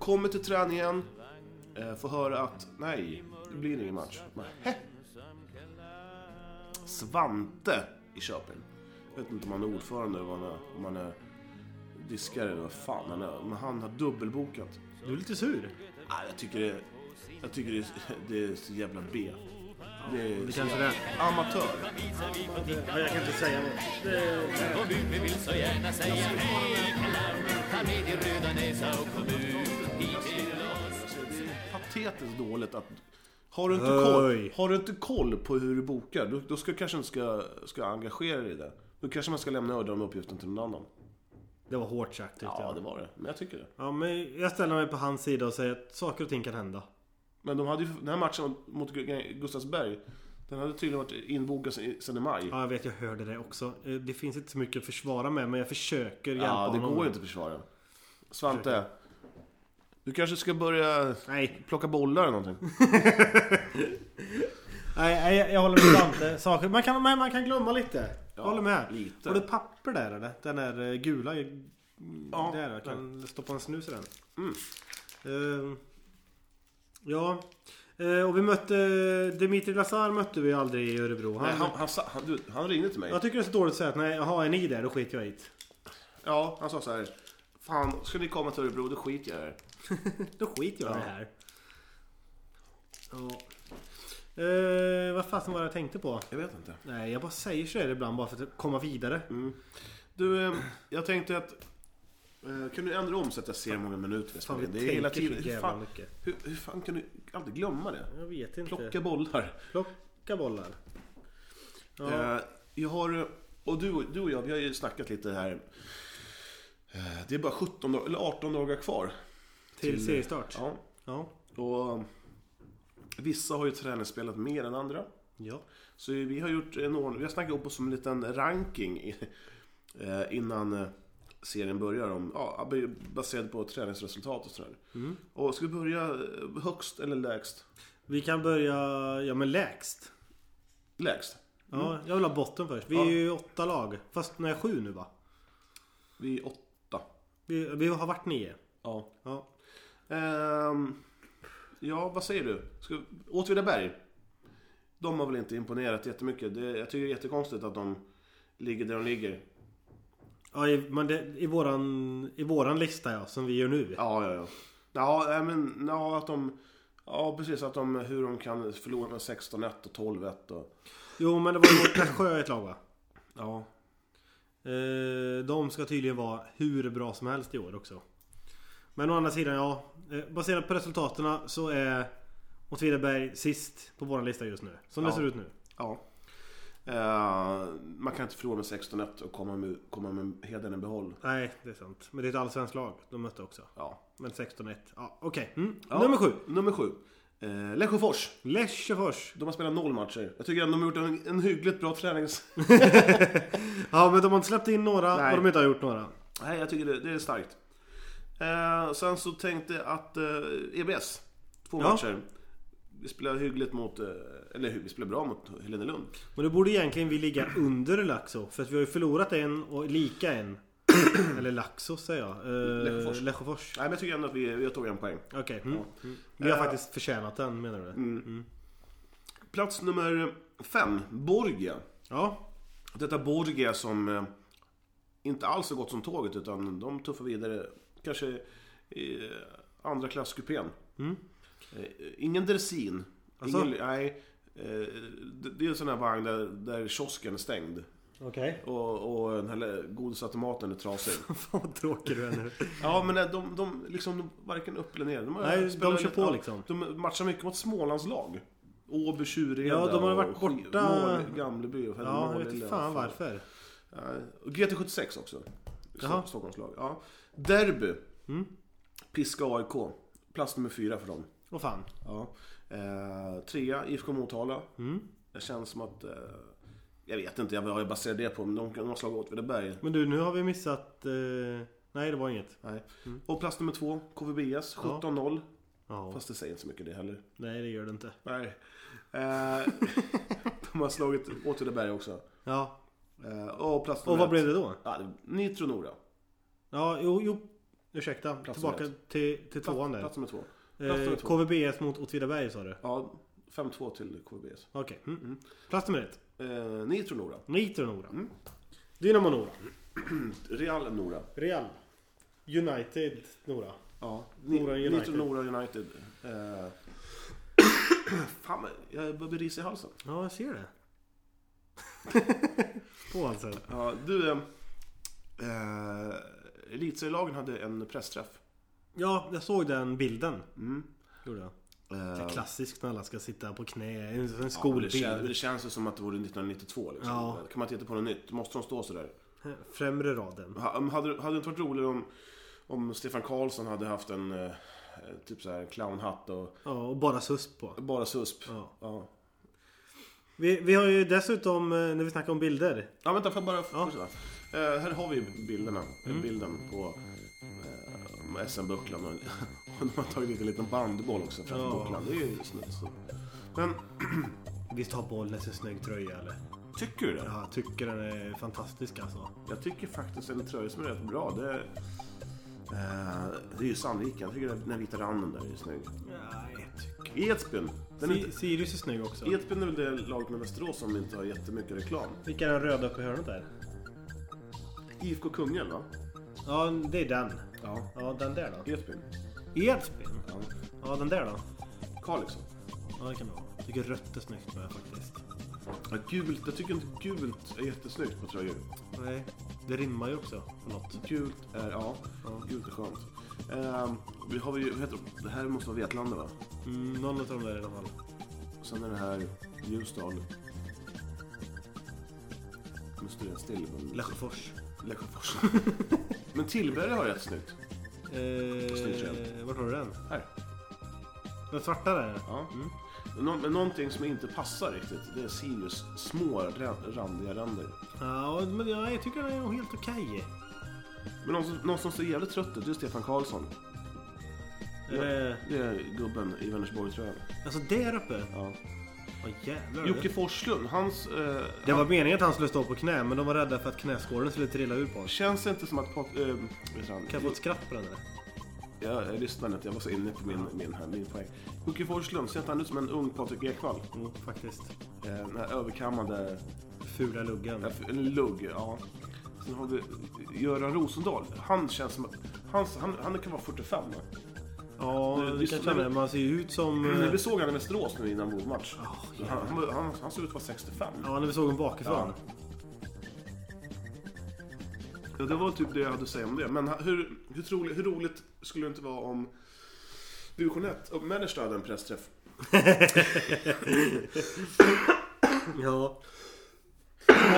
Kommer till träningen, eh, får höra att nej, det blir ingen match. Nähä. Svante i Köping. Jag vet inte om han är ordförande eller vad han är, om han är diskare eller vad fan han är. Men han har dubbelbokat. Du är lite sur. Ah, jag tycker det, jag tycker det, det är så [LAUGHS] jävla B. Det är Det så kanske det jävla, är. amatör. Ja, jag kan inte säga något. Vi vill så gärna säga hej Kalmar, ta med din röda näsa och kom ut hit till oss Alltså, det är patetiskt dåligt att... Har du inte koll, Oj. har du inte koll på hur du bokar, då, då ska, kanske inte ska, ska engagera dig i det. Då kanske man ska lämna över de uppgiften till någon annan. Det var hårt sagt tyckte Ja, jag. det var det. Men jag tycker det. Ja, men jag ställer mig på hans sida och säger att saker och ting kan hända. Men de hade ju, den här matchen mot Gu- Gustavsberg, den hade tydligen varit inbokad sen sen i maj. Ja, jag vet, jag hörde det också. Eh, Det finns inte så mycket att försvara med, men jag försöker hjälpa Ja, det honom. går ju inte att försvara. Svante, du kanske ska börja Nej, plocka bollar eller någonting? nej, nej jag, jag håller med Svante. Saker, man, kan, man, man kan glömma lite. Jag håller med. lite. Har du ett papper där eller? Den där eh, gula. Ja, Mm. där, jag kan stoppa en snus i den. Eh, ja. Eh, och vi mötte... Dimitri Lazar mötte vi aldrig i Örebro. Nej, Han, han, han, sa- han, du, han ringde till mig. Jag tycker det är så dåligt att säga att nej, jaha, är ni där? Då skiter jag i det. Ja, han sa så här. Fan, ska ni komma till Örebro, då skiter jag i det här." Då skiter jag i det här. Ja. Eh, vad fasen var det jag tänkte på? Jag vet inte. Nej, jag bara säger så här ibland bara för att komma vidare. Mm, Du, eh, jag tänkte att... eh, Kan du ändra om så att jag ser hur många minuter Fan, vi spelar vi in? Det tänker är hela tiden. så Hur jävla fan, mycket. hur, hur fan kan du alltid glömma det? Jag vet inte. Plocka bollar. Plocka bollar. Ja. Eh, Jag har... Och du, du och jag, vi har ju snackat lite här. Eh, Det är bara 17 dagar, eller 18 dagar kvar. till, seriestart. Ja. Ja. Ja. Och vissa har ju träningsspelat mer än andra. ja. Så vi har gjort en ordning, vi har snackat upp oss som en liten ranking i- eh, innan eh, serien börjar om, ja, baserad på träningsresultat och sådär. Och ska vi börja eh, högst eller lägst? Vi kan börja, ja men lägst. Lägst. Ja, jag vill ha botten först. Vi är Mm. Ja. ju åtta lag. Fast nej, sju nu va? Vi är åtta. Vi, vi har varit nio. Ja. Ja. Ehm, ja, vad säger du? Ska, Åtvidaberg. De har väl inte imponerat jättemycket. Det, jag tycker det är jättekonstigt att de ligger där de ligger. Ja, i, men det, i, våran, i våran lista ja, som vi gör nu. Ja, ja, ja. Ja, nej, men ja, att de... Ja, precis. Att de, hur de kan förlora med 16-1 och 12-1 och... Jo, men det var ju mot [CLEARS THROAT] Nässjö ett lag va? Ja. Eh, de ska tydligen vara hur bra som helst i år också. Men å andra sidan, ja. Eh, baserat på resultaten så är Åtvidaberg sist på vår lista just nu. Som det Ja. ser ut nu. ja. Eh, man kan inte förlora med 16-1 och komma med, komma med hedern i behåll. Nej, det är sant. Men det är ett allsvenskt lag de mötte också. Ja. Men 16-1. Ja, okej. Mm. ja. Nummer sju. Nummer sju. Eh, Lesjöfors. Lesjöfors. De har spelat noll matcher. Jag tycker ändå de har gjort en, en hyggligt bra tränings... [LAUGHS] Ja, men de har inte släppt in några Nej. och de inte har gjort några. Nej, jag tycker det, det är starkt. Eh, sen så tänkte jag att eh, EBS, två Ja. matcher. Vi spelar hyggligt mot, eh, eller hy- vi spelar bra mot Helenelund. Men då borde egentligen vi ligga under Laxo. För att vi har ju förlorat en och lika [CLEARS THROAT] en. Eller Laxo säger jag. Eh, Lesjöfors. Lesjöfors. Nej, men jag tycker ändå att vi, vi tog en poäng. Okej. Mm. Mm. Vi har Eh. faktiskt förtjänat den menar du? Plats nummer fem, Borgia. Ja. Detta Borgia som eh, inte alls har gått som tåget utan de tuffar vidare. Kanske i eh, andra klasskupén. Eh, ingen dressin. Alltså? Ingen, nej. Eh, det, det är en sån här vagn där, där kiosken är stängd. Okej. Och, och den här godisautomaten är trasig. [LAUGHS] Fan vad tråkig du är nu. Ja men nej, de, de liksom de varken upp eller ner. De har Nej, de spelat- kör på ja, liksom. De matchar mycket mot Smålandslag. Åby, Tjureda Ja, de har och varit Sk- borta- Mål, Gamleby och Ja, jag vet Målilla inte och fan varför. Nej, Och GT76 också. Jaha. Mm. Jaha. Stockholmslag. Ja. Derby. Piska AIK. Plats nummer fyra för dem. Åh fan. Ja. Eh, trea, IFK Motala. Mm. Det känns som att... Eh, jag vet inte vad jag baserar det på, men de kan de har slagit Åtvidaberg. Men du, nu har vi missat... Eh... Nej, det var inget. Nej. Och plats nummer två, KVBS. 17-0. Ja. Fast det säger inte så mycket det heller. Nej, det gör det inte. Nej. Eh, [LAUGHS] de har slagit Åtvidaberg också. Ja. Eh, och plats nummer Och vad ett. blev det då? Ja, det- Nitro Nora. Ja, jo, jo. Ursäkta. Tillbaka nummer till, till tvåan där. Plats nummer två. Plats Eh, nummer två. KVBS mot Åtvidaberg sa du? Ja, 5-2 till KVBS. Okej. Mm. Plats nummer ett. Eh, Nitro Nora. Nitro Nora. Mm. Dynamo Nora. Real Nora. Real. United Nora. Ja, Ni- Nora United. Nitro Nora United. Eh, [CLEARS THROAT] fan, men jag börjar bli risig i halsen. Ja, jag ser det. [LAUGHS] På alltså. halsen. Ja, du, eh, eh, elitserielagen hade en pressträff. Ja, jag såg den bilden. Mm. Gjorde jag. Eh, Det är klassiskt när alla ska sitta på knä. En, en Ja, men det, kän, det skolbild. känns ju som att det vore 1992 liksom. Ja. Kan man inte hitta på något nytt? Måste de stå sådär? Främre raden. Ha- om- Hade, hade det inte varit roligare om, om Stefan Karlsson hade haft en eh, typ så här clownhatt och Ja, och bara susp på. bara susp? Ja. ja. Vi, vi har ju dessutom, eh, när vi snackar om bilder. Ja, vänta, får jag bara fortsätta? Eh, här har vi bilderna. Mm. Bilden på eh, SM-bucklan. Och, [LAUGHS] och de har tagit dit en liten bandboll också framför Ja. bucklan. Det är ju snyggt. så. Men Visst har Bollnäs en snygg tröja eller? tycker du det? Ja, jag tycker den är fantastisk alltså. Jag tycker faktiskt en tröja som är rätt bra. Det, är- eh, det är ju Sandviken. Jag tycker den vita randen där är snygg. Nej, Edsbyn. Den är Si- inte, Sirius är snygg också. Edsbyn är väl det laget med Västerås som inte har jättemycket reklam. Vilka är den röda uppe i hörnet där? IFK Kungälv va? Ja, det är den. Ja. Ja, den där då. Edsbyn. Edsbyn? Ja. Ja, den där då. Kalix. Ja, det kan det vara. tycker rött är snyggt med faktiskt. Ja, gult, jag tycker inte gult är jättesnyggt på tröjor. Nej. Det rimmar ju också på något. Gult är, ja, gult är skönt. Ehm, vi har ju, vad heter de? Det här måste vara Vetlanda va? Mm, någon av de där i alla fall. Sen är det här Ljusdal. Nu står jag still. men- Lesjöfors. Lesjöfors. [LAUGHS] Men Tillberga har rätt snyggt. Eh, vart har du den? Här. Den svarta där? Ja. Mm. Nå- men någonting som inte passar riktigt, det är Sirius små ra- randiga ränder. Ja, men jag, jag tycker den är nog helt okej. Men någon som, någon som ser jävligt trött ut, det är Stefan Karlsson. Eh, Det är gubben i Vänersborg tror jag. alltså där uppe? Ja. Åh jävlar. Jocke Forslund, hans... Eh, Det var meningen att han skulle stå på knä, men de var rädda för att knäskålen skulle trilla ur på honom. Känns det inte som att... Pat, eh, vet han, Kan jag få ett skratt på den där? jag, jag lyssnade inte, jag var så inne på min, min, här, min poäng. Jocke Forslund, ser inte han ut som en ung Patrik Ekwall? Jo, faktiskt. Eh, den här överkammade... Fula luggen. ja, En lugg, ja. Sen har vi Göran Rosendahl. Han känns som att... Han, han, han kan vara 45 va? Ja, Det- det- det kanske han är. Man ser ju ut som... eh, När vi såg han i Västerås nu innan vår match. han, han, han, han såg ut att vara 65. Ja, när vi såg honom bakifrån. Ja, det var typ det jag hade att säga om det. Men hur, hur, troligt, hur roligt skulle det inte vara om division 1 och Mellersta hade en pressträff? Ja. [CLEARS THROAT]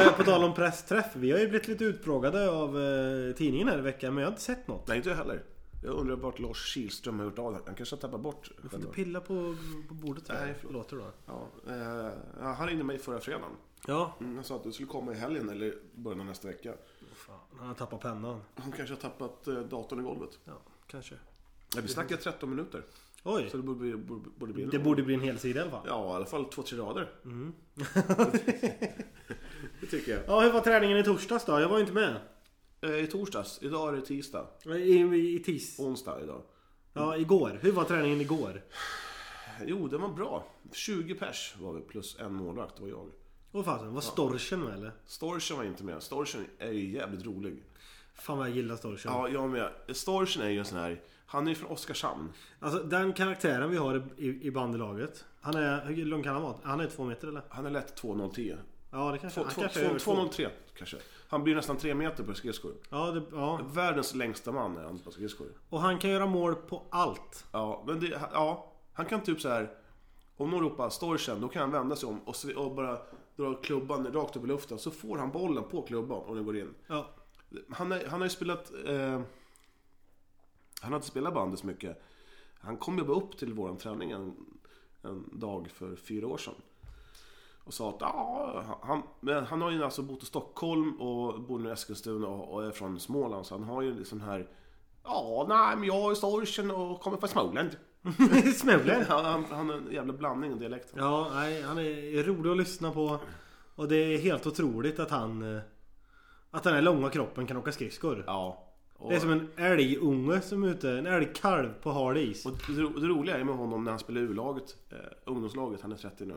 Eh, På tal om pressträff. Vi har ju blivit lite utfrågade av eh, tidningen här i veckan, men jag har inte sett något. Nej, inte jag heller. Jag undrar vart Lars Kihlström har gjort av den. Han kanske har tappat bort Du får inte pilla på, på bordet här. Nej, Nej, förlåt. Låter det då? ja, eh, ja, Han ringde mig förra fredagen. Ja. Mm, Han sa att du skulle komma i helgen eller början av nästa vecka. Fan, han har tappat pennan. Han kanske har tappat eh, datorn i golvet. Ja, kanske. Ja, vi snackar 13 minuter. Oj! Så det borde, bli- borde, borde bli... Det borde bli en hel sida i alla fall. Ja. Ja, i alla fall två, tre rader. [LAUGHS] det tycker jag. hur var träningen i torsdags då? Jag var ju inte med. Eh, I torsdags. Idag är det tisdag. I, i, i tis. Onsdag idag. Ja, igår. Hur var träningen igår? Jo, den var bra. 20 pers var vi, plus en målvakt, det var jag. Åh fasen, var Storchen med eller? Storchen var inte med. Storchen är ju jävligt rolig. Fan vad jag gillar Storchen. Ja, jag med. Storchen är ju en sån här... Han är ju från Oskarshamn. Alltså den karaktären vi har i, i, i bandelaget. Han är, hur lång kan han vara? Han är två meter eller? Han är lätt 2,010. Ja det kanske Två- han två- kanske är två- över två. 2,03 kanske. Han blir nästan 3 meter på skridskor. Ja, det, ja. Världens längsta man är han på skridskor. Och han kan göra mål på allt. Ja, men det... Ja, han kan typ så här... Om någon ropar Storchen, då kan han vända sig om och, sve- och bara dra klubban rakt upp i luften. Så får han bollen på klubban och den går in. Ja. [LAUGHS] Han, är, han har ju spelat... Eh, han har inte spelat bandy så mycket. Han kom ju bara upp till våran träning en, en dag för fyra år sedan. Och sa att "Ah, han, men han har ju alltså bott i Stockholm och bor nu i Eskilstuna och, och är från Småland. Så han har ju liksom här... Ja, nej men jag är storchen och kommer från Småland. [LAUGHS] Smulen. Han, han, han har en jävla blandning i dialekten. Ja, nej, han är rolig att lyssna på. Och det är helt otroligt att han... eh, Att den här långa kroppen kan åka skridskor. Ja. Och, Det är som en älgunge som är ute. En älgkalv på hal is. Och det, ro- det roliga är med honom när han spelar i U-laget, eh, ungdomslaget, han är 30 nu.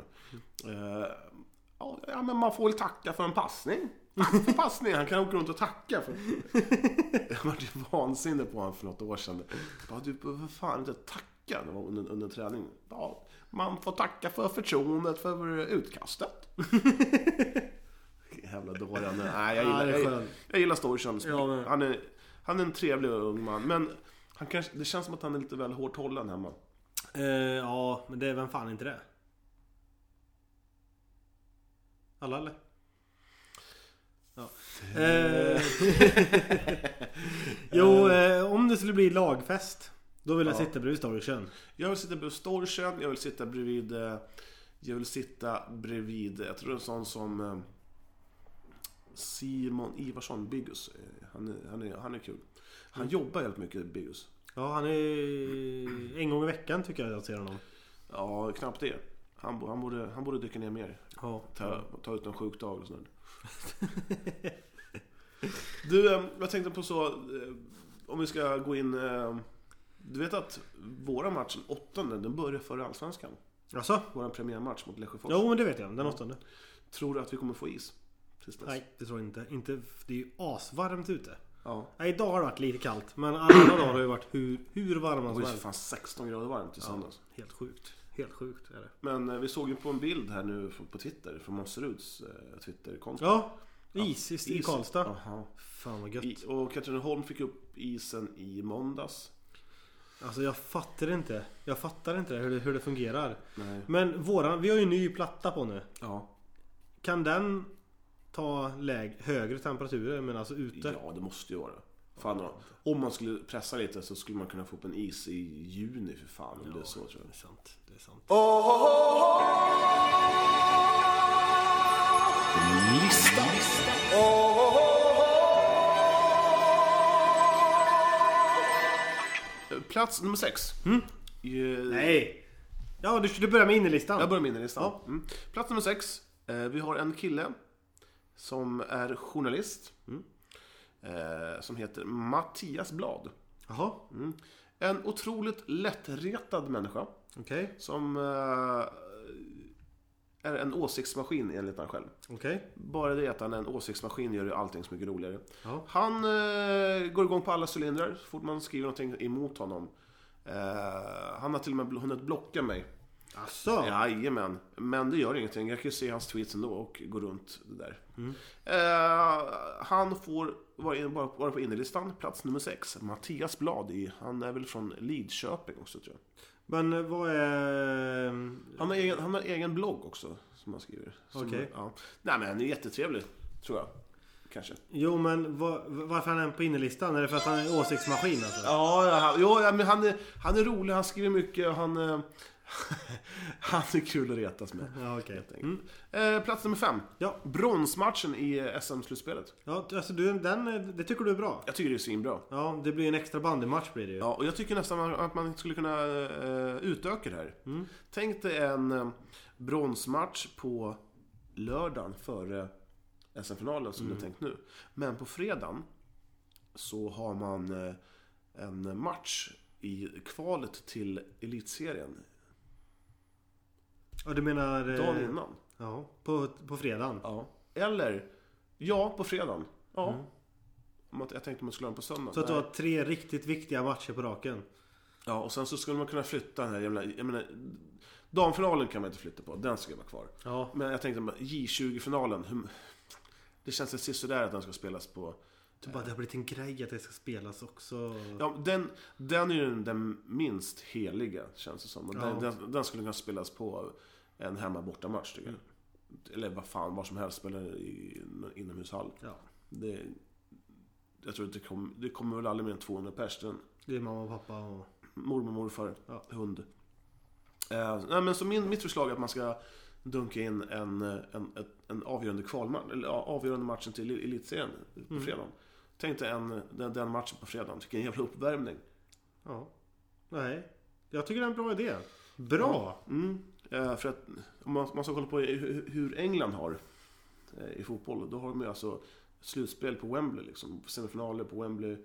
Eh, ja, ja, men man får väl tacka för en passning. Tack för passning, han kan åka runt och tacka. För... Jag var ju vansinnig på honom för något år sedan. Bara, du behöver fan inte tacka Det var under, under träning. Ja, man får tacka för förtroendet för utkastet. [LAUGHS] Jävla dåre han är. Nej, jag Ja, gillar, det är jag, skönt. jag gillar Storchen. Ja, men- han, är, han är en trevlig ung man, men han kanske, det känns som att han är lite väl hårt hållen hemma. Eh, ja, men det är vem fan inte det? Alla eller? Ja. Eh, [LAUGHS] jo, eh, om det skulle bli lagfest. Då vill jag sitta bredvid Storchen. Jag vill sitta bredvid Storchen, jag vill sitta bredvid... eh, Jag vill sitta bredvid, jag tror en sån som... eh, Simon Ivarsson, Biggus. Eh, Han är, han är, han är kul. Han jobbar jävligt mycket, Biggus. Ja, han är... En gång i veckan tycker jag att jag ser honom. Ja, knappt det. Han, bo- han, borde, han borde dyka ner mer. Ja. Ta, ta ut en sjukdag och sånt där. [LAUGHS] Du, eh, jag tänkte på så... eh, Om vi ska gå in... eh, Du vet att våra match, den åttonde, den börjar före Allsvenskan. Alltså? Vår premiärmatch mot Lesjöfors. Jo, men det vet jag. Den åttonde. Tror du att vi kommer få is? Tills dess? Nej, det tror jag inte. inte. Det är ju asvarmt ute. Ja. Nej, idag har det varit lite kallt. Men alla dagar har ju varit hur, hur varma Det som var ju helst. fan 16 grader Alltså, varmt i söndags. Helt sjukt. Helt sjukt är det. Men eh, vi såg ju på en bild här nu från- på Twitter från Monseruds eh, Twitterkonto. Ja, Isis i Is- Karlstad. Jaha. Fan vad gött. I- Och Katrineholm fick upp isen i måndags. Alltså jag fattar inte. Jag fattar inte hur det, hur det fungerar. Nej. Men våran, vi har ju en ny platta på nu. Ja. Kan den ta läg, högre temperaturer men alltså ute? Ja, det måste ju vara det. Fan, då. om man skulle pressa lite så skulle man kunna få upp en is i juni för fan om det är så tror Det är jag. sant. Det är sant. Oh, Plats nummer sex. Eh, Nej! Ja, du, du börjar med innerlistan. Jag börjar med innerlistan. Mm. Plats nummer sex. Eh, Vi har en kille som är journalist. Eh, Som heter Mattias Blad. Jaha, Mm. En otroligt lättretad människa. okej. Som eh, är en åsiktsmaskin enligt han själv. Okej. Bara det att han är en åsiktsmaskin gör ju allting så mycket roligare. Ja. Han eh, går igång på alla cylindrar så fort man skriver någonting emot honom. Eh, han har till och med bl- hunnit blocka mig. Asså? Jajamän. Men det gör ingenting. Jag kan ju se hans tweets ändå och gå runt det där. Mm. Eh, han får vara, in, vara vara på innerlistan, plats nummer 6. Mattias Blad i, han är väl från Lidköping också tror jag. Men eh, vad är... Han har egen, han har egen blogg också som han skriver. Som- Okej. Ja. Nej men han är jättetrevlig, tror jag. Kanske. Jo men vad- varför han är på innerlistan? Är det för att han är en åsiktsmaskin alltså? Ja, ja, han, jo, ja, men han, är, han är rolig, han skriver mycket och han, eh, [LAUGHS] han är kul att retas med. Ja, okej. Mm. Eh, plats nummer fem. Ja. Bronsmatchen i eh, SM-slutspelet. Ja, alltså du, den, eh, det tycker du är bra? Jag tycker det är svinbra. Ja, det blir en extra bandymatch blir det ju. Ja, och jag tycker nästan att man skulle kunna eh, utöka det här. Mm. Tänk dig en eh, bronsmatch på lördagen före SM-finalen Mm. som det är tänkt nu. Men på fredagen så har man eh, en match i kvalet till elitserien. Ja, du menar... eh, Dagen innan. Ja, på, på fredagen. Ja. Eller, ja, på fredagen. Ja. Om att- Jag tänkte man skulle ha den på söndagen. Mm. Så att du Nej. har tre riktigt viktiga matcher på raken. Ja, och sen så skulle man kunna flytta den här jävla... Jag menar, damfinalen kan man inte flytta på, den ska vara kvar. Ja. Men jag tänkte bara, J20-finalen, hur- det känns lite sådär att den ska spelas på... Du bara, det har blivit en grej att det ska spelas också. Ja, den, den är ju den, den minst heliga, känns det som. Och Den, Ja. den, den skulle kunna spelas på en hemma-borta-match, tycker jag. Eller vad fan, var som helst, spelar i en inomhushall. Ja. Det, jag tror att det, kom, det kommer väl aldrig mer än 200 pers, den Det är mamma och pappa och... mormor och morfar, Ja. hund. Eh, nej, men så min, mitt förslag är att man ska dunka in en, eh, en, ett- en avgörande kvalmatch, eller ja, avgörande matchen till el- elitserien Mm. på fredagen. Tänk dig en, den, den matchen på fredagen, vilken jävla uppvärmning. Ja. Nej. Jag tycker det är en bra idé. Bra! Mm. Eh, för att om man, man ska kolla på hur hur England har eh, i fotboll, då har de ju alltså slutspel på Wembley, liksom, semifinaler på Wembley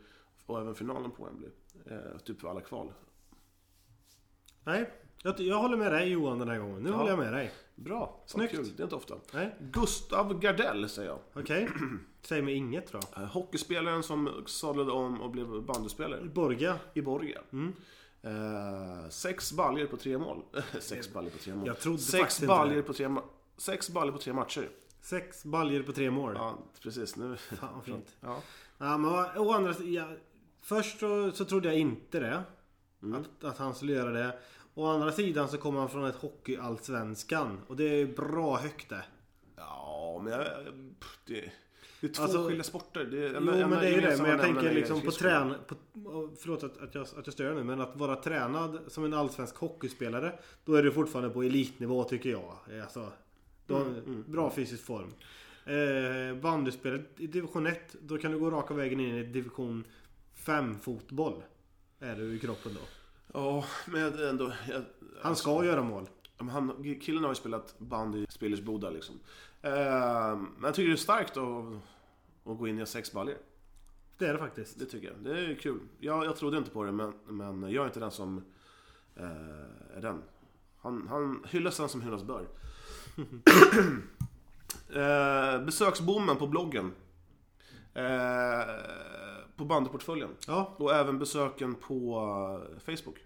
och även finalen på Wembley. Eh, typ för alla kval. Nej. Jag, ty- jag håller med dig Johan den här gången. Nu håller jag med dig. Bra, Snyggt. snyggt. Kul. Det är inte ofta. Nej. Gustav Gardell säger jag. Okej. Säg mig inget då. Eh, Hockeyspelaren som sadlade om och blev bandyspelare Borga. i Borga. Mm. Eh, sex baljer på tre mål. [LAUGHS] sex baljer på tre mål. Jag trodde faktiskt sex inte baljer det. på tre ma- Sex baljer på tre matcher. Sex baljer på tre mål. Ja, [LAUGHS] precis. Nu... Fan vad fint. ja. Ja, men vad- å andra sidan. Ja, först så, så trodde jag inte det. Att, att han skulle göra det. Å andra sidan så kommer han från ett hockeyallsvenskan. Och det är bra högt det. ja, men jag... pff, Det, det är två Alltså- skilda sporter. Det, är- Jo men det är ju det. Men gemensamma jag nämnaren tänker är liksom på skridskor. trän... På, förlåt att, att, jag, att jag stör nu. Men att vara tränad som en allsvensk hockeyspelare. Då är du fortfarande på elitnivå tycker jag. Alltså, då, bra fysisk form. Eh, bandyspelet i division 1. Då kan du gå raka vägen in i division 5 fotboll. Är du i kroppen då. Ja, men ändå... Jag, Han ska göra mål. Ja, men Han, killen har ju spelat band i Spillersboda liksom. Eh, men jag tycker det är starkt att, att gå in i sex baller. Det är det faktiskt. Det tycker jag. Det är kul. Jag, jag trodde inte på det, men, men jag är inte den som eh, är den. Han, han hyllas den som hyllas bör. eh, besöksbommen på bloggen. Eh, på bandyportföljen. Ja, Mm. Och även besöken på eh, Facebook.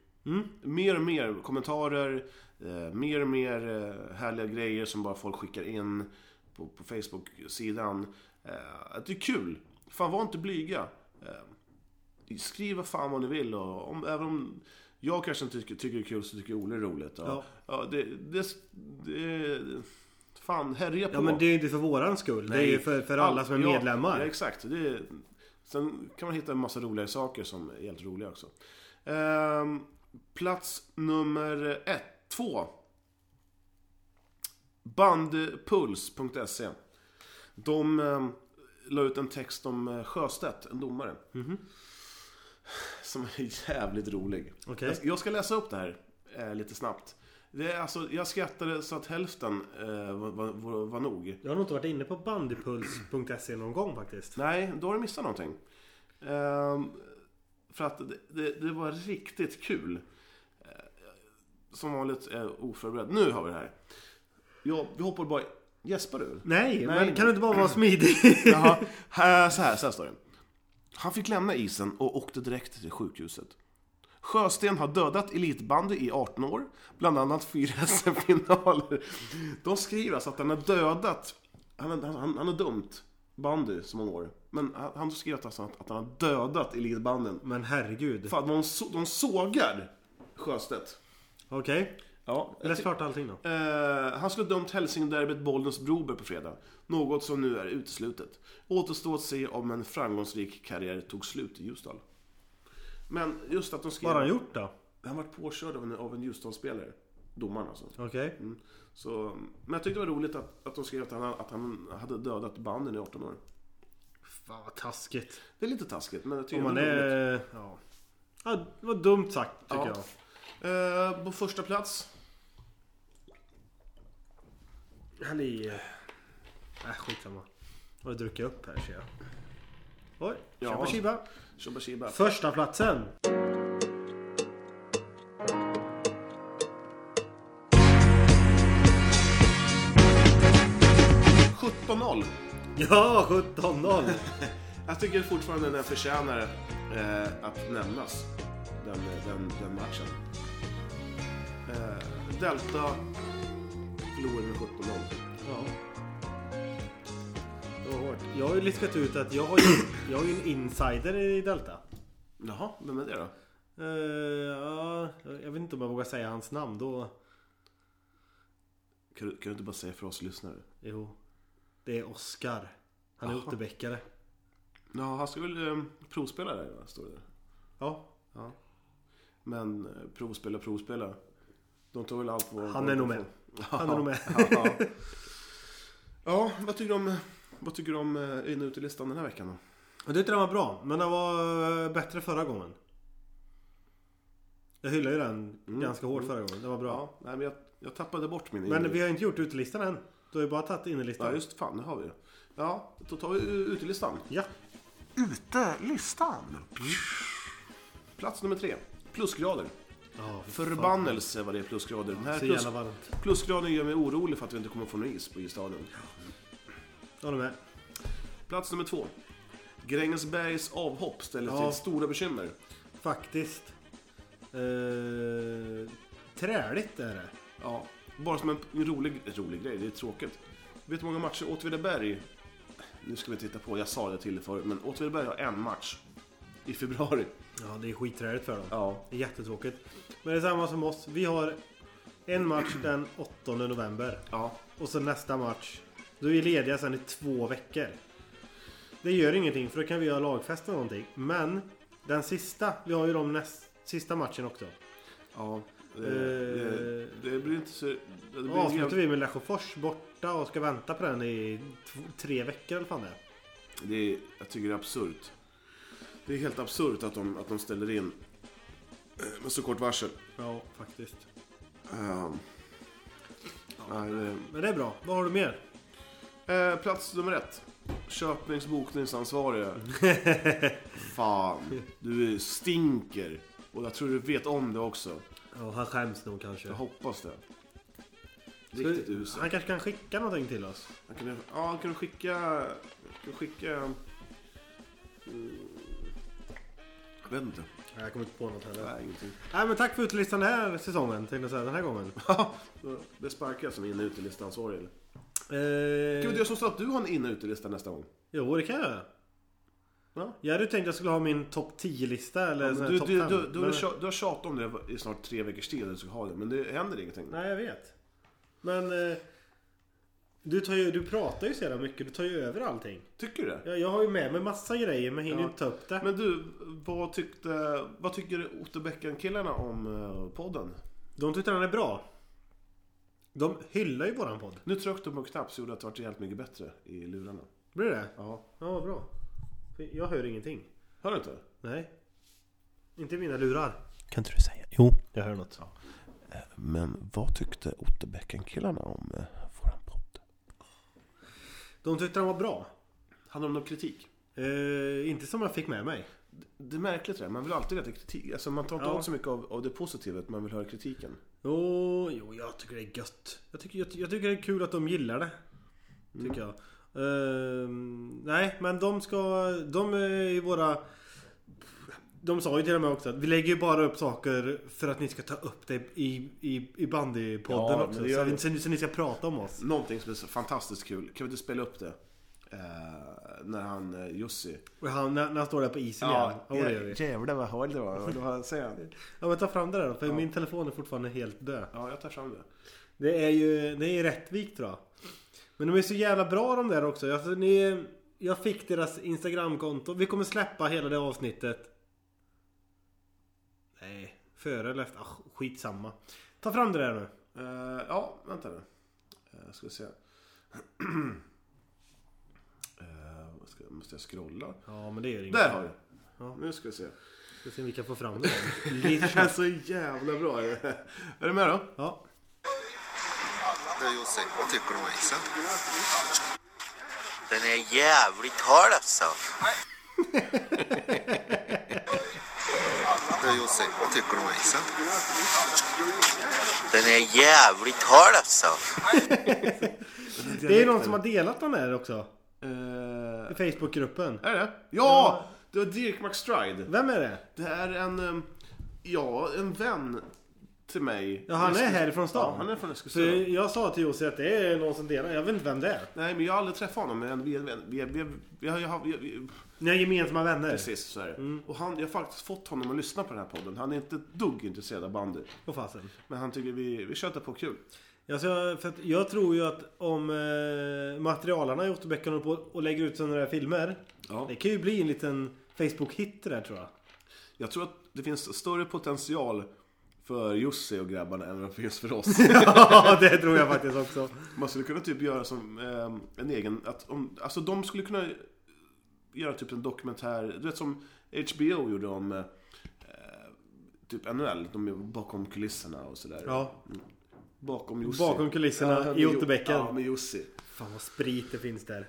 Mer och mer kommentarer, eh, mer och mer eh, härliga grejer som bara folk skickar in på, på Facebook-sidan. Eh, att det är kul. Fan, var inte blyga. Eh, skriv vad fan vad ni vill. Och om, även om jag kanske inte tycker, tycker det är kul så tycker Olle det är roligt. Och, Ja. ja. det, det, det, fan, härja på. Ja men det är ju inte för våran skull. Det är ju för, för alla som är Ja, medlemmar. Ja, exakt. Det är, sen kan man hitta en massa roliga saker som är helt roliga också. Ehm, plats nummer ett, två. Bandpuls.se. E. De eh, la ut en text om eh, Sjöstedt, en domare. Mhm. Som är jävligt rolig. Okej. Jag, jag ska läsa upp det här eh, lite snabbt. Det är, alltså, jag skrattade så att hälften eh, var, var, var, var nog. Jag har nog inte varit inne på bandypuls.se E någon gång faktiskt. Nej, då har du missat någonting. Ehm, för att det, det, det var riktigt kul. Eh, Som vanligt eh, oförberedd. Nu har vi det här. Ja, vi hoppar bara... Gäspar du? Nej, Nej. men kan du inte bara vara [LAUGHS] smidig? Jaha, här, så, här, så här står det. Han fick lämna isen och åkte direkt till sjukhuset. Sjösten har dödat elitbandy i 18 år, bland annat fyra [LAUGHS] SM-finaler. De skriver alltså att han har dödat, han, han, han, han har dömt bandy så många år. Men han, han skriver alltså att, att han har dödat elitbanden. men herregud. Fan, de, så, de sågar Sjöstedt. Okej, Ja, läs klart allting då. Eh, han skulle dömt Hälsingderbyt Bollnäs-Broberg på fredag. Något som nu är uteslutet. Återstår att se om en framgångsrik karriär tog slut i Ljusdal. Men just att de skrev... Vad har han gjort då? Han vart påkörd av en, av en Ljusdalsspelare. Domaren alltså. Okej. Mm. Så, men jag tyckte det var roligt att, att de skrev att han, att han hade dödat banden i 18 år. Fan vad taskigt. Det är lite taskigt, men jag tycker Om man det var roligt. är... Ja. ja. Det var dumt sagt tycker Ja. jag. Eh, på första plats. Han är... Äh, skitsamma. Har du druckit upp här ser jag. Oj, Ja. tjabba tjibba. Shubba Shiba. Första platsen. Ja, 17-0. Jag tycker fortfarande den förtjänar eh, att nämnas. Den, den, den matchen. Eh, Delta förlorade med 17-0. Ja. Det var hårt. Jag har ju listat ut att jag har ju, jag har ju en insider i Delta. Jaha, vem är det då? Eh, ja, jag vet inte om jag vågar säga hans namn då. Kan du, kan du inte bara säga för oss lyssnare? Jo. Det är Oskar. Han är Jaha. Otterbäckare. Ja, han ska väl eh, provspela där, va? står det. Ja. Men eh, provspela, provspela. De tar väl allt på... Han är nog med. Han är nog med. ja. ja, vad tycker du om, vad tycker du om eh, in och utelistan den här veckan då? Jag tyckte den var bra. Men den var eh, bättre förra gången. Jag hyllade ju den ganska hårt förra gången. Den var bra. Ja, nej, men jag, jag tappade bort min Men inlista. vi har ju inte gjort utelistan än. Du har ju bara tagit innerlistan. Ja just fan, det har vi ju. Ja, då tar vi u- utelistan. Ja. Utelistan? Plats nummer tre. Plusgrader. Ja, för Förbannelse vad det är plusgrader. Den här Så plus, jävla varmt. plusgraden gör mig orolig för att vi inte kommer få någon is på isstadion. Jag håller med. Plats nummer två. Grängesbergs avhopp ställer Ja. till stora bekymmer. Faktiskt. Eh, träligt är det. Ja, bara som en p- rolig, rolig grej, det är tråkigt. Vet du hur många matcher Åtvidaberg... Nu ska vi titta på, jag sa det till dig förut, men Åtvidaberg har en match. I februari. Ja, det är skitträligt för dem. Ja. Det är jättetråkigt. Men det är samma som oss. Vi har en match den 8 november. Ja. Och så nästa match. Då är vi lediga sen i två veckor. Det gör ingenting för då kan vi göra lagfest eller någonting. Men den sista, vi har ju de näst, sista matchen också. Ja, det, det, det blir inte så... Det blir Då avslutar helt, vi med Lesjöfors borta och ska vänta på den i tv- tre veckor eller fan det är. det är, jag tycker det är absurt. Det är helt absurt att de, att de ställer in eh, med så kort varsel. Ja, faktiskt. Ehm, nej, det- Men det är bra. Vad har du mer? Eh, plats nummer ett. Köpnings bokningsansvarige. [LAUGHS] Fan, du stinker. Och jag tror du vet om det också. Ja, han skäms nog kanske. Jag hoppas det. Riktigt uselt. Han kanske kan skicka någonting till oss. Han kan, ja, han kan skicka... Kan skicka... Mm, jag vet inte. Nej, jag kommer inte på något heller. Nej, ingenting. Nej men tack för utelistan den här säsongen, tänkte jag säga. Den här gången. Det sparkar som inne och utelista ansvarig. eller? Kan vi inte Eh, göra som så att du har en inne och utelista nästa gång? jo, det kan jag göra. Ja. Jag hade ju tänkt att jag skulle ha min topp 10-lista eller Du, sån här du, topp du, fem, du, du, har men- tjat- du har tjatat om det i snart tre veckors tid att du ska ha det, men det händer ingenting. Nej, jag vet. Men... Eh, du, tar ju, du pratar ju så jävla mycket. Du tar ju över allting. Tycker du det? Jag, jag har ju med mig massa grejer men hinner Ja. ju inte ta upp det. Men du, vad, tyckte, vad tycker Otto Bäcken-killarna om eh, podden? De tyckte den är bra. De hyllar ju våran podd. Nu tryckte de på en knapp så gjorde att det vart jävligt mycket bättre i lurarna. Blir det? Ja. Ja, vad bra. För Jag hör ingenting. Hör du inte? Nej. Inte i mina lurar. Kan inte du säga? Jo. Jag hör något. Men vad tyckte Otto Bäcken-killarna om eh, våran podd? De tyckte den var bra. Handlar det om någon kritik? Eh, inte som jag fick med mig. Det är märkligt det där. man vill alltid veta kritik. Alltså man tar inte Ja. åt så mycket av, av det positiva, utan man vill höra kritiken. Jo, jo, jag tycker det är gött. Jag tycker, jag, jag tycker det är kul att de gillar det. Tycker jag. Ehm, nej, men de ska... De är ju våra... De sa ju till och med också att vi lägger ju bara upp saker för att ni ska ta upp det i, i, i bandypodden Ja, också. men det gör Så, vi. vi- så, ni- så ni ska prata om oss. Någonting som är så fantastiskt kul, kan vi inte spela upp det? Eh, när han, eh, Jussi. Och han, när, när han står där på isen igen. Ja, det gör vi. jävlar vad hål det var. Vad var- säger han? Ja, men ta fram det där då, för min telefon är fortfarande helt död. Ja, jag tar fram det. Det är ju det är ju Rättvik tror jag. Men de är så jävla bra de där också. Alltså, ni, jag fick deras Instagramkonto. Vi kommer släppa hela det avsnittet. Nej, före eller efter. Ah, skitsamma. Ta fram det där nu. Eh, ja, vänta nu. Uh, ska vi se. [CLEARS THROAT] Eh, vad ska, måste jag scrolla? Ja, men det gör inget. Där har vi det. Ja. Nu ska vi se. Ska se om vi kan få fram det. där. Det Lite här är [LAUGHS] snabbt. så jävla bra. Är du med då? Ja. Du Jussi, vad tycker du om isen? Den är jävligt hård alltså. Du Jussi, vad tycker du om isen? Den är jävligt hård alltså. Det är ju någon som har delat den där också. Eh, I Facebookgruppen. är det? Ja! Det var Dirk McStride. Vem är det? Det är en, em, ja, en vän till mig. Ja, han är härifrån Ja, stan. han är från Så Eskilstuna. jag sa till Jussi att det är någon som delar. Jag vet inte vem det är. Nej, men jag har aldrig träffat honom. Men vi, vi, vi, vi, vi, har- jag har- vi, vi, Ni har gemensamma vänner. precis så är det. Mm. Och han, jag har faktiskt fått honom att lyssna på den här podden. Han är inte ett dugg intresserad av bandy. På fasen. Men han tycker vi, vi tjötar på kul. Alltså, för att jag tror ju att om eh, materialarna i Otterbäcken håller på och lägger ut sådana där filmer. Ja. Det kan ju bli en liten Facebook-hit det där [LAUGHS] tror jag. Jag tror att det finns större potential för Jussi och grabbarna än vad det finns [LAUGHS] för oss. Ja, det tror jag faktiskt också. Man skulle kunna typ göra som eh, en egen, att om, alltså de skulle kunna göra typ en dokumentär, du vet som HBO gjorde om eh, typ NHL, de är bakom kulisserna och sådär. Ja. Bakom Jussi. Bakom kulisserna med i Jo- Otterbäcken. Ja, med Jussi. Fan vad sprit det finns där.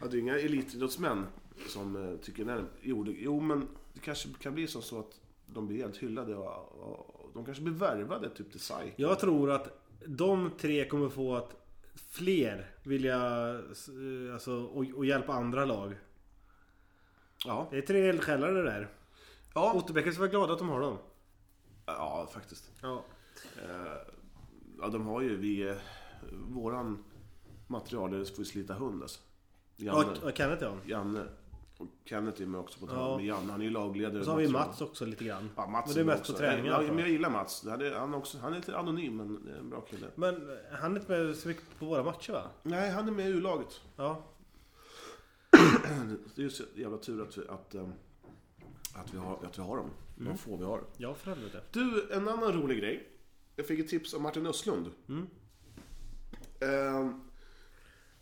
Ja, det är inga elitidrottsmän som eh, tycker nej. Jo, det, jo, men det kanske kan bli som så att de blir helt hyllade och, och de kanske blir värvade typ till SAIK. Jag tror att de tre kommer få att fler vilja eh, alltså, och, och hjälpa andra lag. Ja. Det är tre eldsjälar det där. Ja. Otterbäcken ska vara glada att de har dem. ja, faktiskt. Ja. Ja, de har ju vi... eh, Våran materialare får ju slita hund alltså. Ja, Janne. och Kenneth ja. Janne. Och Kenneth är med också på tal. Ja. Men Janne, han är ju lagledare. Så har vi material. Mats också lite grann. Ja, Mats men det är med mest också. på alltså. träningen. Ja, i alla fall. men jag gillar Mats. Han är, han, är också, han är lite anonym, men det är en bra kille. Men han är inte med så mycket på våra matcher va? Nej, han är med i U-laget. Ja. Det är ju så jävla tur att vi, att, ehm, att vi, har, att vi har dem. Mm. De få vi har. Ja för helvete. Du, en annan rolig grej. Jag fick ett tips av Martin Östlund. Ehm,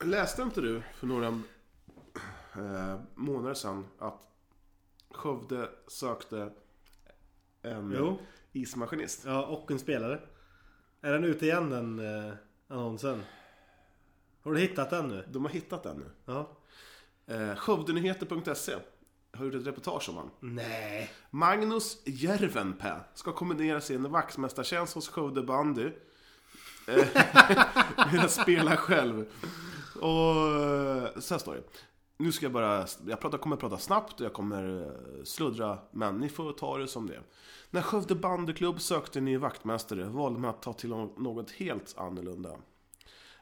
läste inte du för några eh, månader sedan att Skövde sökte en Jo. ismaskinist? Ja och en spelare. Är den ute igen den eh, annonsen? Har du hittat den nu? De har hittat den nu. Ja. Eh, Skövdenyheter.se har gjort ett reportage om honom. Nej. Magnus Järvenpää ska kombinera sin vaktmästartjänst hos Skövde bandy eh, [LAUGHS] med att spela själv. Och eh, så här står det. Nu ska jag bara, jag pratar, kommer prata snabbt och jag kommer eh, sluddra, men ni får ta det som det är. När Skövde bandyklubb sökte ny vaktmästare valde man att ta till något helt annorlunda.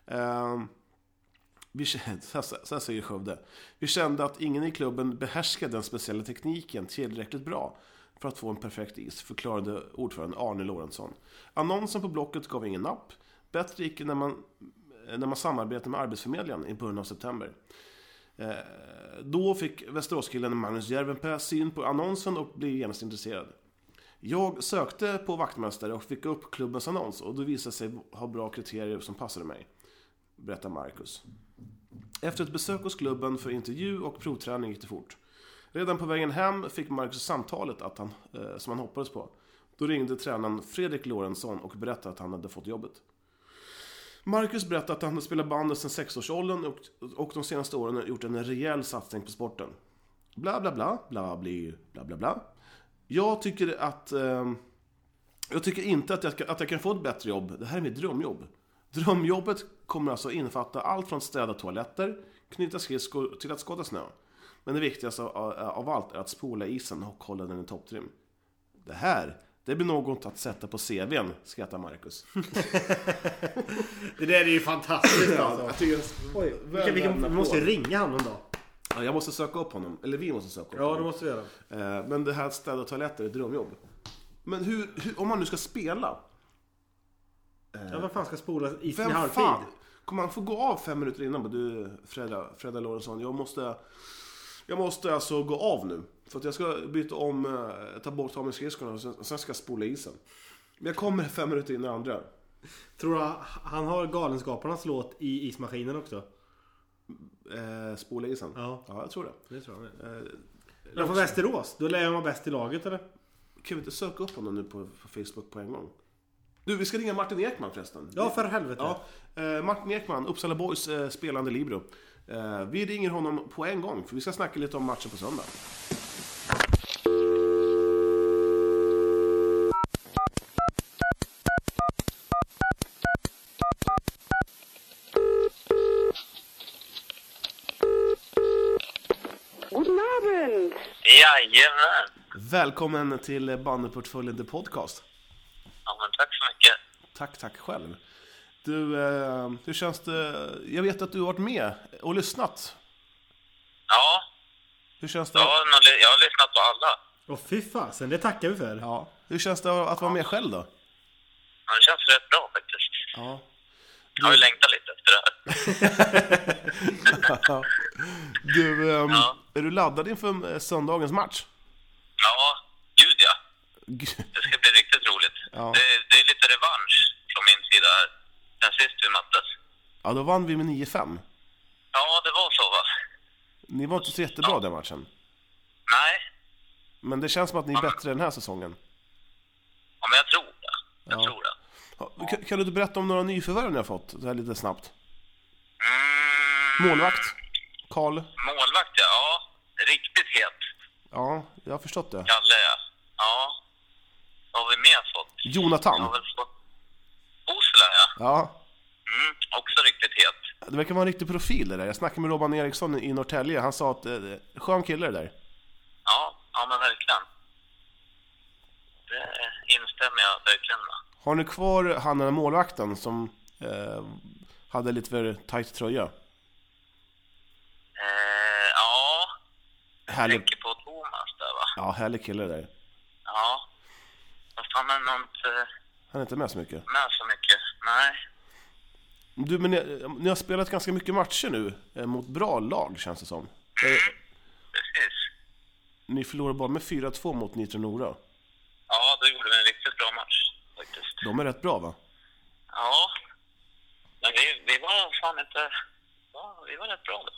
Ehm, vi, kände- [LAUGHS] så, här, så här säger Skövde. Vi kände att ingen i klubben behärskade den speciella tekniken tillräckligt bra för att få en perfekt is, förklarade ordföranden Arne Lorentzon. Annonsen på Blocket gav ingen napp. Bättre gick det när man, när man samarbetade med Arbetsförmedlingen i början av september. Eh, då fick Västeråskillen Magnus Järvenpää syn på annonsen och blev genast intresserad. Jag sökte på vaktmästare och fick upp klubbens annons och det visade sig ha bra kriterier som passade mig. Berättar Marcus. Efter ett besök hos klubben för intervju och provträning gick det fort. Redan på vägen hem fick Marcus samtalet att han, eh, som han hoppades på. Då ringde tränaren Fredrik Lorentzon och berättade att han hade fått jobbet. Marcus berättade att han hade spelat bandet sedan sexårsåldern och, och de senaste åren gjort en rejäl satsning på sporten. Bla bla bla, bla bli, bla bla bla. Jag tycker att... ehm, jag tycker inte att jag, ska- att jag kan få ett bättre jobb. Det här är mitt drömjobb. Drömjobbet kommer alltså innefatta allt från städa toaletter, knyta skridskor till att skotta snö. Men det viktigaste av, av allt är att spola isen och hålla den i topptrim. Det här, det blir något att sätta på CVn, skrattar Marcus. Det där är ju [CLEARS THROAT] fantastiskt alltså. tycker jag, Oj, vilka, vilka, vi måste ringa honom då. ja, jag måste söka upp honom, eller vi måste söka upp Ja, det honom. måste vi göra. Eh, Men det här att städa toaletter är ett drömjobb. Men hur, hur, om man nu ska spela, Ja, vem fan ska spola isen i vem halvtid? fan? Kommer han få gå av fem minuter innan? Bara, Du Fredda, Fredda Lorentzon, jag måste... Jag måste alltså gå av nu. För att jag ska byta om, eh, ta bort ta av mig skridskorna och sen, och sen ska jag spola isen. Men jag kommer fem minuter innan andra. Tror du han har Galenskaparnas låt i ismaskinen också? Eh, spola isen? Ja. jag tror det. Det tror jag med. Men från Eh, Västerås, då lär han vara bäst i laget eller? Kan vi inte söka upp honom nu på, på Facebook på en gång? Du, vi ska ringa Martin Ekman förresten. Ja, för helvete. Ja, eh, Martin Ekman, Uppsala Boys eh, spelande libero. Eh, vi ringer honom på en gång, för vi ska snacka lite om matchen på söndag. Guten Abend. Jajamän. Välkommen till Bandyportföljen The Podcast. Ja, men tack så mycket. Tack, tack själv. Du, eh, hur känns det? Jag vet att du har varit med och lyssnat. Ja, Hur känns det? jag har, nog ly- jag har lyssnat på alla. Och fy fasen, det tackar vi för. Ja. Hur känns det att vara med själv då? Ja, Det känns rätt bra faktiskt. Ja. Jag har ju längtat lite efter det här. Du, ehm, Ja. är du laddad inför eh, söndagens match? Ja, gud ja. G- Det ska bli riktigt roligt. Ja. Det, det är lite revansch från min sida här. Sen sist vi möttes. Ja, då vann vi med 9-5. Ja, det var så va? Ni var inte så jättebra den matchen. Nej, Men det känns som att ni är bättre den här säsongen. ja, men jag tror det. Jag Ja. tror det. Ja, Kan, kan du inte berätta om några nyförvärv ni har fått? Så här lite snabbt. Mm, Målvakt? Karl? målvakt ja. ja. Riktigt het. Ja, jag har förstått det. Kalle ja. Ja. Vad har vi mer fått? Jag har Jonathan? väl fått... Osla ja. Ja, Mm, också riktigt het. Det verkar vara en riktig profil det där. Jag snackade med Robban Eriksson i Norrtälje. Han sa att eh, skön kille det där. Ja, ja men verkligen. Det instämmer jag verkligen med. Har ni kvar han den där målvakten som eh, hade lite för tight tröja? Eh, ja, jag Härlig, tänker på Thomas där va? ja, härlig kille det där. Ja. Fast han är nog inte Han är inte med så mycket. med så mycket. Nej. Du, men ni, ni har spelat ganska mycket matcher nu eh, mot bra lag känns det som. Eh, Mm. Precis. ni förlorar bara med 4-2 mot Nitro Nora. Ja, då gjorde vi en riktigt bra match faktiskt. De är rätt bra va? Ja. Men vi, vi var fan inte... Ja, vi var rätt bra då.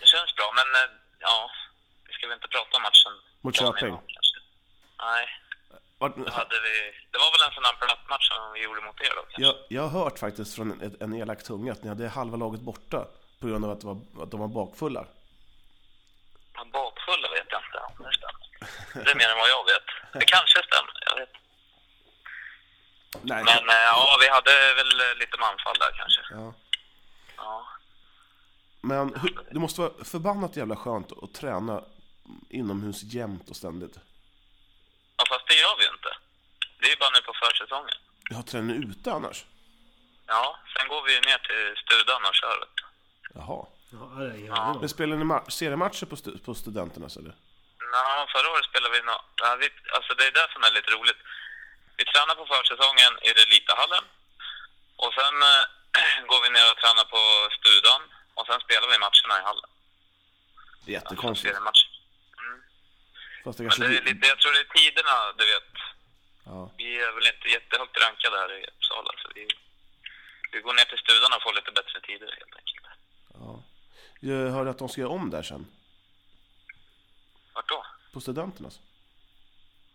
Det känns bra, men eh, ja. Vi ska väl inte prata om matchen. Mot dagen Köping. innan, kanske. Nej, Vart, då hade vi... Det var väl en sån där platt match som vi gjorde mot er då kanske? jag, jag har hört faktiskt från en, en elak tunga att ni hade halva laget borta på grund av att, det var, att de var bakfulla. Men bakfulla vet jag inte om det stämmer. Det är mer än vad jag vet. Det kanske stämmer, jag vet Nej, Men eh, ja, vi hade väl eh, lite manfall där kanske. Ja. Ja. Men hur- det måste vara förbannat jävla skönt att träna inomhus jämt och ständigt. Ja, fast det gör vi ju inte. Det är ju bara nu på försäsongen. Jag tränar ute annars. Ja, sen går vi ju ner till studan och kör. vet du. Jaha. Ja, det är ingen aning Men om. spelar ni ma- seriematcher på, stu- på Studenternas eller? Nej, förra året spelade vi nå. ja, vi, alltså det är det som är lite roligt. Vi tränar på försäsongen i Relitahallen. Och sen eh, [CLEARS THROAT] går vi ner och tränar på studan. Och sen spelar vi matcherna i hallen. Det är jättekonstigt. Seriematch. Fast det Men kanske... det är lite, jag tror det är tiderna, du vet. Ja. Vi är väl inte jättehögt rankade här i Uppsala. Så vi, vi går ner till studan och får lite bättre tider helt enkelt. ja. Jag hörde att de ska göra om där sen. Vart då? På Studenternas.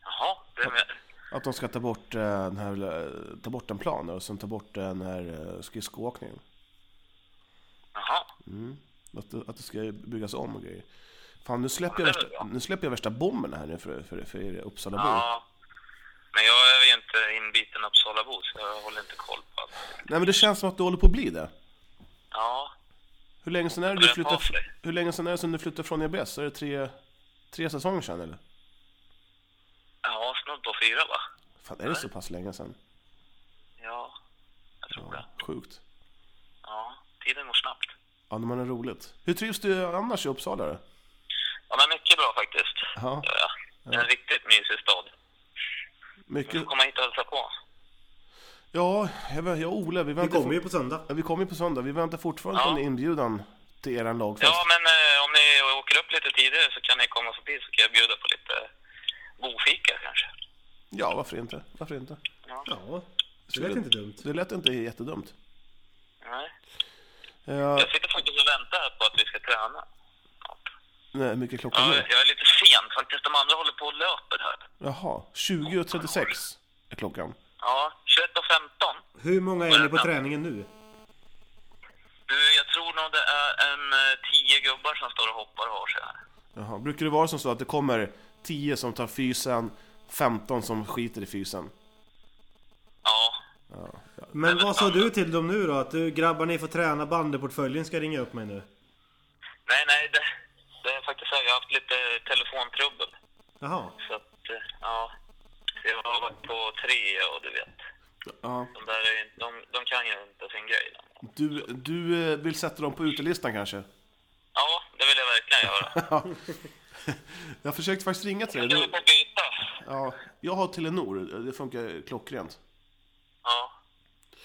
Jaha, det med, Att de ska ta bort, eh, den här, eh, ta bort en plan och sen ta bort den här eh, skridskoåkningen. jaha. Att, det- att det ska byggas om och grejer. Fan, nu släpper jag Ja, det är väl värsta, nu släpper jag värsta bomben här nu för, för, för er Uppsalabor. Ja. Men jag är ju inte inbiten Uppsalabo så jag håller inte koll på allt. Nej, men det känns som att du håller på att bli det. Ja, Hur länge sedan är det Ja, du det flyttade, tar sig. hur länge sedan är det som du flyttade från EBS? Är det tre, tre säsonger sedan eller? ja snudd på fyra va? Fan, är det så pass länge sedan? Ja, jag tror det. Sjukt. Ja, tiden går snabbt. Ja, när man har roligt. Hur trivs du annars i Uppsala då? Ja, men mycket bra faktiskt. Ja. Ja, ja. Det är en riktigt mysig stad. Du Mycket... får komma hit och hälsa på. Ja, jag, vet- jag och Ola, vi Vi väntar... kommer ju på söndag. Ja, vi kommer ju på söndag. Vi väntar fortfarande Ja. på en inbjudan till eran lagfest. Ja, men eh, om ni åker upp lite tidigare så kan ni komma förbi så kan jag bjuda på lite bofika kanske. Ja, varför inte? Varför inte? Ja, det lät inte dumt. Det lät inte jättedumt. Nej. Eh, Jag sitter faktiskt och väntar här på att vi ska träna. nej, hur mycket klockan Ja, är? jag är lite sen faktiskt. De andra håller på och löper här. Jaha, 20.36 är klockan. Ja, 21 och 15. Hur många är ni på träningen nu? Du, jag tror nog det är en eh, tio gubbar som står och hoppar och har sig här. Jaha. Brukar det vara som så att det kommer 10 som tar fysen, 15 som skiter i fysen? Ja, Men vad sa du till dem nu då? Att du grabbar ni får träna bandyportföljen ska ringa upp mig nu. nej, nej, det, det är faktiskt så här. Jag har haft lite telefontrubbel. Jaha. Så att, eh, ja. Jag har varit på tre och du vet. Ja. De där är, ju inte- de, de kan ju inte sin grej. de. Du, du eh, vill sätta dem på utelistan kanske? Ja, det vill jag [LAUGHS] verkligen göra. Jag försökte faktiskt ringa till dig. Jag vill Du- på byta. Ja, jag har Telenor, det funkar klockrent. Ja,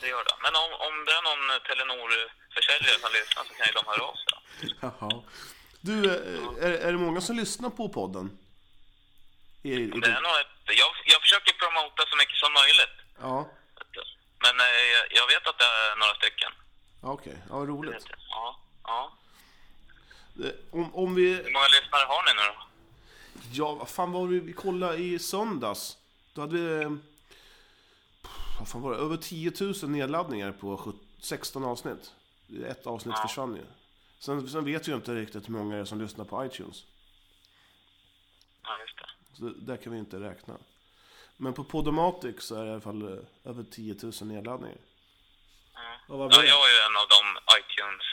det gör det. Men om, om det är någon Telenor-försäljare som lyssnar så kan ju de höra av sig. Jaha. Du, eh, är, är det många som lyssnar på podden? I, i, Det är nog ett, jag, jag försöker promota så mycket som möjligt. Ja, vet du. Men eh, jag- jag vet att det är några stycken. ja, okej. Ja, roligt. Ja, ja. Eh, Om, om vi... Hur många lyssnare har ni nu då? Ja, vad fan var det vi kollade i söndags? Då hade vi... eh, Vad fan var det? Över 10 000 nedladdningar på sjut- 16 avsnitt. Ett avsnitt försvann ju. Sen, sen vet vi ju inte riktigt hur många det är som lyssnar på iTunes. Ja, just det. Så det, där kan vi inte räkna. Men på Podomatic så är det i alla fall eh, över 10 000 nedladdningar. Och vad Mm. Ja, bra. jag är ju en av de iTunes.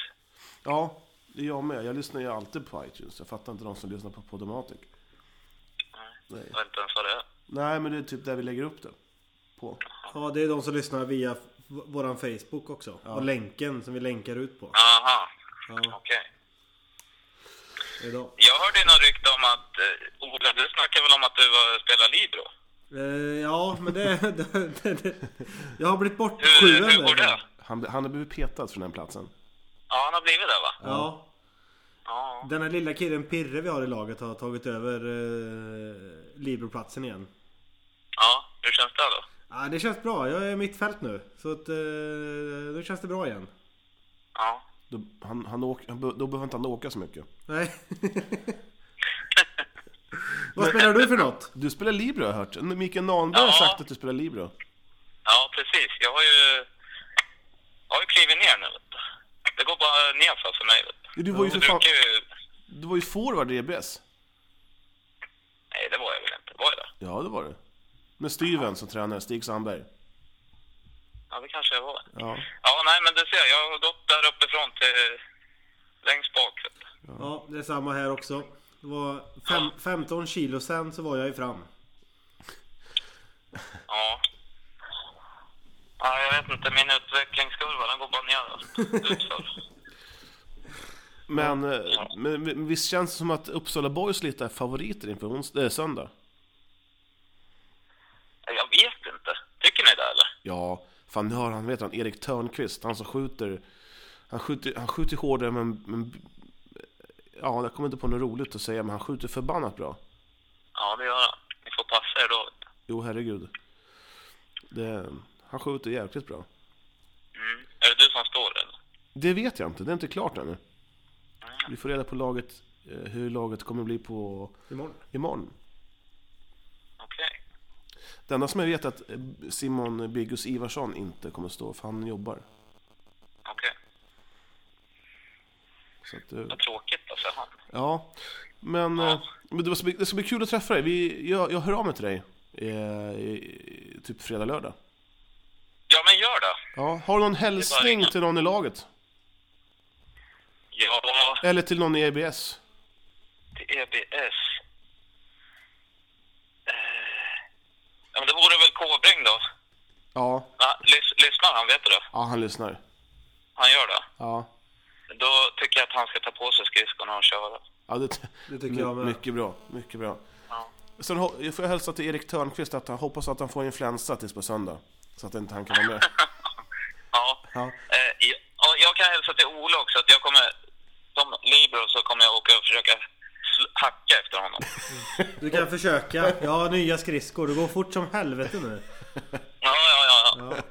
Ja, det är jag med. Jag lyssnar ju alltid på iTunes. Jag fattar inte de som lyssnar på Podomatic. Nej. Jag vet inte ens vad det är. Nej, men det är typ där vi lägger upp det. På. Ja, det är de som lyssnar via f- våran Facebook också. Och länken som vi länkar ut på Aha, Ja. okej. idag. Jag hörde ju något rykte om att... eh, Ola, du snackade väl om att du var, spelar Libro? Eh, ja, men det, [LAUGHS] det, det, det... Jag har blivit Hur, bortsjuen hur går det? Han, han har blivit petad från den platsen. Ja, han har blivit det va? Ja. Ja. Den här lilla killen Pirre vi har i laget har tagit över eh, Libroplatsen igen. Ja, hur känns det då? Ja, det känns bra. Jag är mittfält nu. Så att, eh, då känns det bra igen. Ja. Då, han, han åk, han, be- då behöver inte han åka så mycket. Nej. [LAUGHS] Vad spelar du för något? Du spelar Libro har jag hört. Mikael Nahnberg har Ja. sagt att du spelar Libro. Ja, precis. Jag har ju... Jag har ju klivit ner nu. vet du. Det går bara nerför för mig. Vet Du var ju du. för Jag fan, brukar ju... du var ju forward i E EBS. Nej, det var jag väl inte. Var jag det? Ja, det var du. Med Styven som tränare, Stig Sandberg. Ja, det kanske jag var. Ja. Ja, nej, men du ser, jag har gått där uppifrån till längst bak. vet du. Ja, det är samma här också. Det var fem, 15 kilo sen så var jag ju fram. Ja. Ja, jag vet inte. Min utvecklingskurva, den går bara neråt. Utför. Men, eh, men, men visst känns det som att Uppsala Boys lite är favoriter inför onsdag, eh, söndag? Jag vet inte. Tycker ni det, eller? Ja, fan nu har han, vet han, Erik Törnqvist, han som skjuter... Han skjuter, han skjuter hårdare men, men... Ja, jag kommer inte på något roligt att säga, men han skjuter förbannat bra. Ja, det gör jag. Ni får passa er då. Jo, herregud. Det, han skjuter jäkligt bra. Mm. Är det du som står, eller? Det vet jag inte, det är inte klart ännu. Vi får reda på laget, eh, hur laget kommer bli på Imorgon. imorgon. Okej. Det enda som jag vet är att eh, Simon Biggus Ivarsson inte kommer stå, för han jobbar. Okej. Så att, eh, Vad tråkigt, alltså. Han. ja. Men, eh, men det, ska bli, det ska bli kul att träffa dig. Vi, jag, jag hör av mig till dig. eh, i- Typ fredag, lördag. Ja, men gör det. Ja, har du någon hälsning ringa. till någon i laget? Ja, Eller till någon i EBS? till E EBS. Eh, Ja, men det vore väl Kåbring då? Ja, Ja, lys- lyssnar han, vet du det? ja han lyssnar. Han gör det. Ja, Då tycker jag att han ska ta på sig skridskorna och köra. ja det, Det tycker jag med. Mycket bra, mycket bra. Ja. Sen ho- jag får jag hälsa till Erik Törnqvist att han hoppas att han får influensa tills på söndag. Så att inte han kan vara med. Ja. Ja. Eh, jag, ja, jag kan hälsa till Ola också att jag kommer, som Libro så kommer jag åka och försöka sl- hacka efter [LAUGHS] honom. Du kan försöka. Jag har nya skridskor. Det går fort som helvete nu. Ja, ja, ja. ja.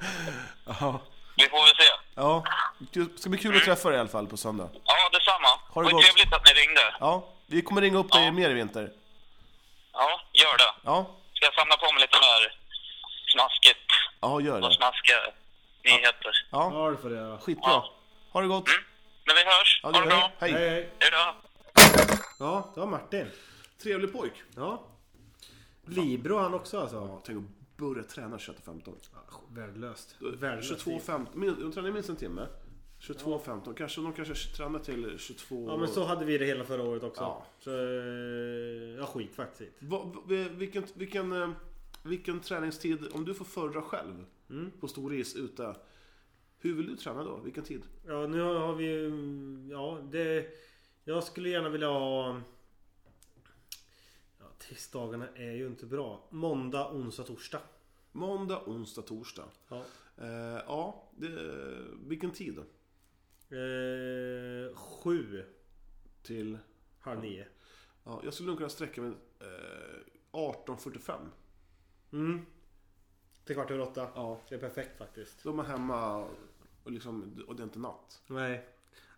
Ja. Vi får väl se. [LAUGHS] Ja, det ska bli kul att träffa dig i alla fall på söndag. Ja, detsamma. Ha det Vad gott. trevligt att ni ringde. Ja, vi kommer ringa upp dig Ja. mer i vinter. Ja, gör det. Ja, Ska jag samla på mig lite mer smaskigt ja gör och det. smaskiga nyheter. Ja, Ja, det får du göra. skitbra. Ha det gott. Men vi hörs. Ja, Mm. ha det gör det. bra. Hej. Hej, hej. Hej då. Ja, det var Martin. Trevlig pojk. Ja. Libro han också alltså. Tänk att börja träna 21.15. Värdelöst. 22.15, min- de tränar minst en timme. 22.15, kanske de kanske tränar till 22... Ja men så hade vi det hela förra året också. Ja. Så, eh, ja skit faktiskt. Va, va, vilken, vilken, eh, vilken träningstid, om du får förra själv på stor is ute. Hur vill du träna då? Vilken tid? Ja nu har vi ju, ja det... Jag skulle gärna vilja ha... Ja, tisdagarna är ju inte bra. Måndag, onsdag, torsdag. Måndag, onsdag, torsdag. Ja. Eh, ja, det, vilken tid? Eh, sju, Till... halv nio. Ja, jag skulle nog kunna sträcka mig eh, 18.45. Mm. Till kvart över åtta. Ja. Det är perfekt faktiskt. Då är man hemma och, liksom, och det är inte natt. Nej.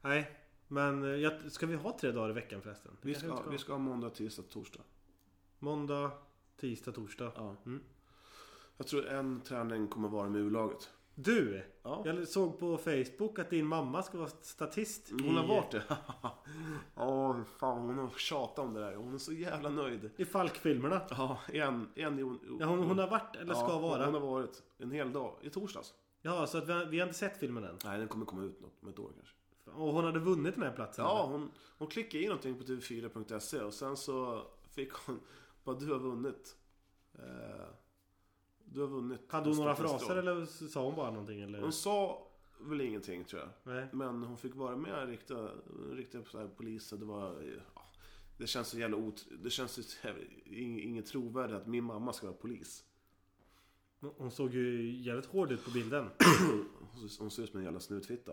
Nej. Men eh, jag, ska vi ha tre dagar i veckan förresten? Det Vi kanske ska, vi vi ska ha måndag, tisdag, torsdag. Måndag, tisdag, torsdag. Ja. Mm. Jag tror en träning kommer vara med U-laget. Du! Ja. Jag såg på Facebook att din mamma ska vara statist Hon har i, varit det. [LAUGHS] Ja, fan hon har tjatat om det där. Hon är så jävla nöjd. i Falk-filmerna. Ja, en, en Ja, hon, hon har varit, eller ska vara. Hon har varit en hel dag. I torsdags. Ja, så att vi, har, vi har inte sett filmen än. Nej, den kommer komma ut något, om ett år kanske. Och hon hade vunnit den här platsen. Ja, eller? hon, hon klickade in någonting på tv4.se och sen så fick hon bara du har vunnit. Eh, du har vunnit. Hade hon några Stockholms fraser drag." eller s- sa hon bara någonting? Eller? Hon sa väl ingenting tror jag. Nej. Men hon fick vara med riktiga, riktiga så här, poliser. Det var... Ja, det känns så jävla ot... Det känns så jävla, ing- inget trovärdigt att min mamma ska vara polis. Hon såg ju jävligt hård ut på bilden. Hon, ser- hon ser ut som en jävla snutfitta.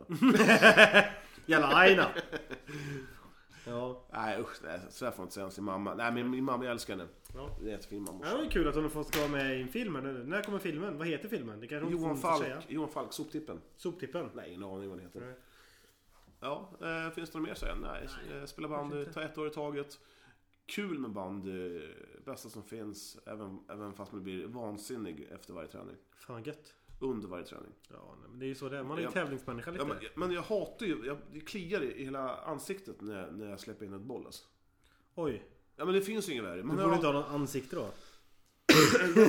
Jävla aina! [LAUGHS] Ja. nej usch, nej, så här får jag inte säga om sin mamma. Nej men min mamma, jag älskar henne. Ja. Det är jättefin mamma. Ja, det var ju kul att hon får ska vara med i en film. här nu. När kommer filmen? Vad heter filmen? Det kanske hon Johan får säga. Falk, Johan Falk, soptippen. Soptippen? Nej, ingen aning vad den heter. Nej. Ja, eh, finns det något mer att säga? Nej, eh, spela bandy, ta ett år i taget. Kul med bandy, bästa som finns. Även, även fast man blir vansinnig efter varje träning. Fan vad gött. Under varje träning. Ja, nej, men det är ju så det är. Man är ju Ja. tävlingsmänniska lite. Ja, men, men jag hatar ju, jag, det kliar i i hela ansiktet när, jag- när jag släpper in ett boll alltså. Oj. Ja men det finns ju inget värre. Man Du har borde inte ha något ansikte då.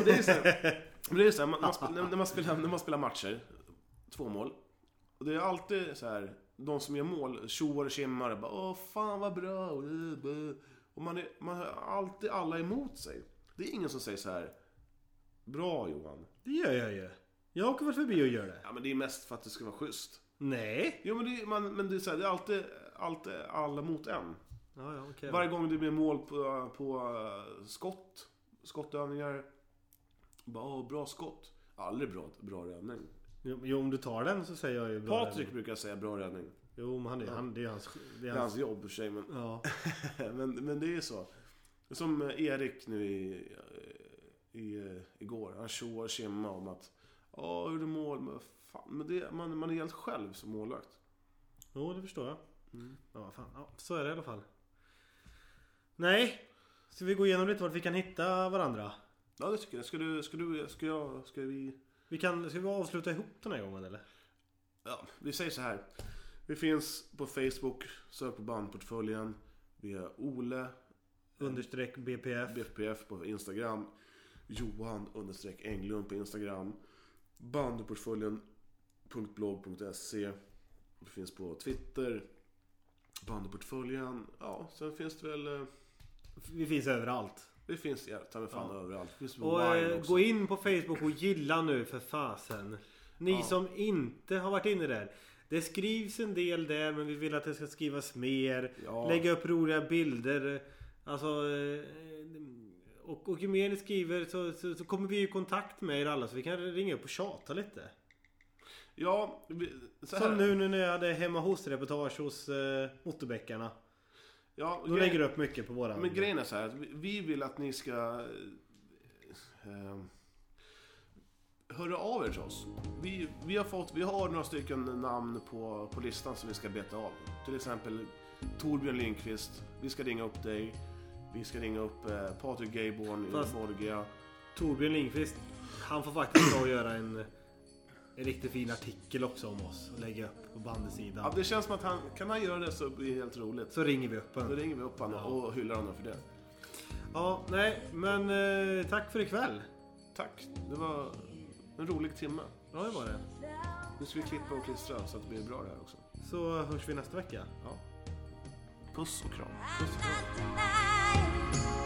Det är så här, men det är så här man, man, sp- när, när man spelar, när man spelar matcher, två mål. Och det är alltid så här de som gör mål tjoar och tjimmar och bara Åh fan vad bra. och, eh, bö." Och man, är, man har alltid alla emot sig. Det är ingen som säger så här Bra Johan. Det gör jag ju. Jag åker väl förbi och gör det. Ja men det är mest för att det ska vara schysst. Nej. Jo men det, är- man, men det är så här, det är alltid, alltid alla mot en. Ja, ja, okej. Varje gång det blir mål på, på eh, skott, skottövningar. Bara, "Åh, bra skott. Aldrig bra, bra räddning. Jo, jo, om du tar den så säger jag ju bra Patrik räddning. brukar säga bra räddning. Jo, men han är, han, det är hans... Det är Det är hans hans jobb i och för sig, men, [LAUGHS] ja. men, men det är ju så. Som eh, Erik nu i, i, eh, igår. Han tjoar och tjimmar om att Ja, hur du mål. Men, fan, men det, man, man är helt själv som målvakt. Jo, det förstår jag. Mm. Ja, vad fan. Ja, så är det i alla fall. Nej. Ska vi gå igenom lite vart vi kan hitta varandra? Ja, det tycker jag. Ska du, ska du, ska jag, ska vi... Vi kan, ska vi avsluta ihop den här gången eller? Ja, vi säger så här. Vi finns på Facebook, sök på bandportföljen. Vi är Ole Understreck BPF. BPF på Instagram. Johan understreck Englund på Instagram. Bandyportföljen.blogg.se Det finns på Twitter. Bandyportföljen. Ja, sen finns det väl... eh, Vi finns överallt. Det finns, ja, ta mig fan överallt. Det finns på Och Vine eh, också. gå in på Facebook och gilla nu för fasen. Ni som inte har varit inne där. Det skrivs en del där men vi vill att det ska skrivas mer. Ja. Lägga upp roliga bilder. Alltså... eh, Och, och ju mer ni skriver så, så, så kommer vi i kontakt med er alla så vi kan ringa upp och tjata lite. Ja, vi, så här. Som nu, nu när jag hade hemma hos-reportage hos eh, Otterbäckarna. Ja, Då grej- lägger du upp mycket på våran... Men grejen är så här, att vi- vi vill att ni ska... eh, Eh, höra av er till oss. Vi, vi, har fått, vi har några stycken namn på, på listan som vi ska beta av. Till exempel Torbjörn Lindqvist. Vi ska ringa upp dig. Vi ska ringa upp eh, Patrik Gayborn i Fast- Borgia. Torbjörn Lindqvist, han får faktiskt ta och göra en, en riktigt fin artikel också om oss och lägga upp på Ja, bandesidan. det känns som att han, kan han göra det så blir det helt roligt. Så ringer vi upp Då honom. ringer vi upp honom och hyllar honom för det. Ja, nej, men eh, tack för ikväll. Tack, det var en rolig timme. Ja, det var det. Nu ska vi klippa och klistra så att det blir bra det här också. Så hörs vi nästa vecka. Puss och kram. Tonight,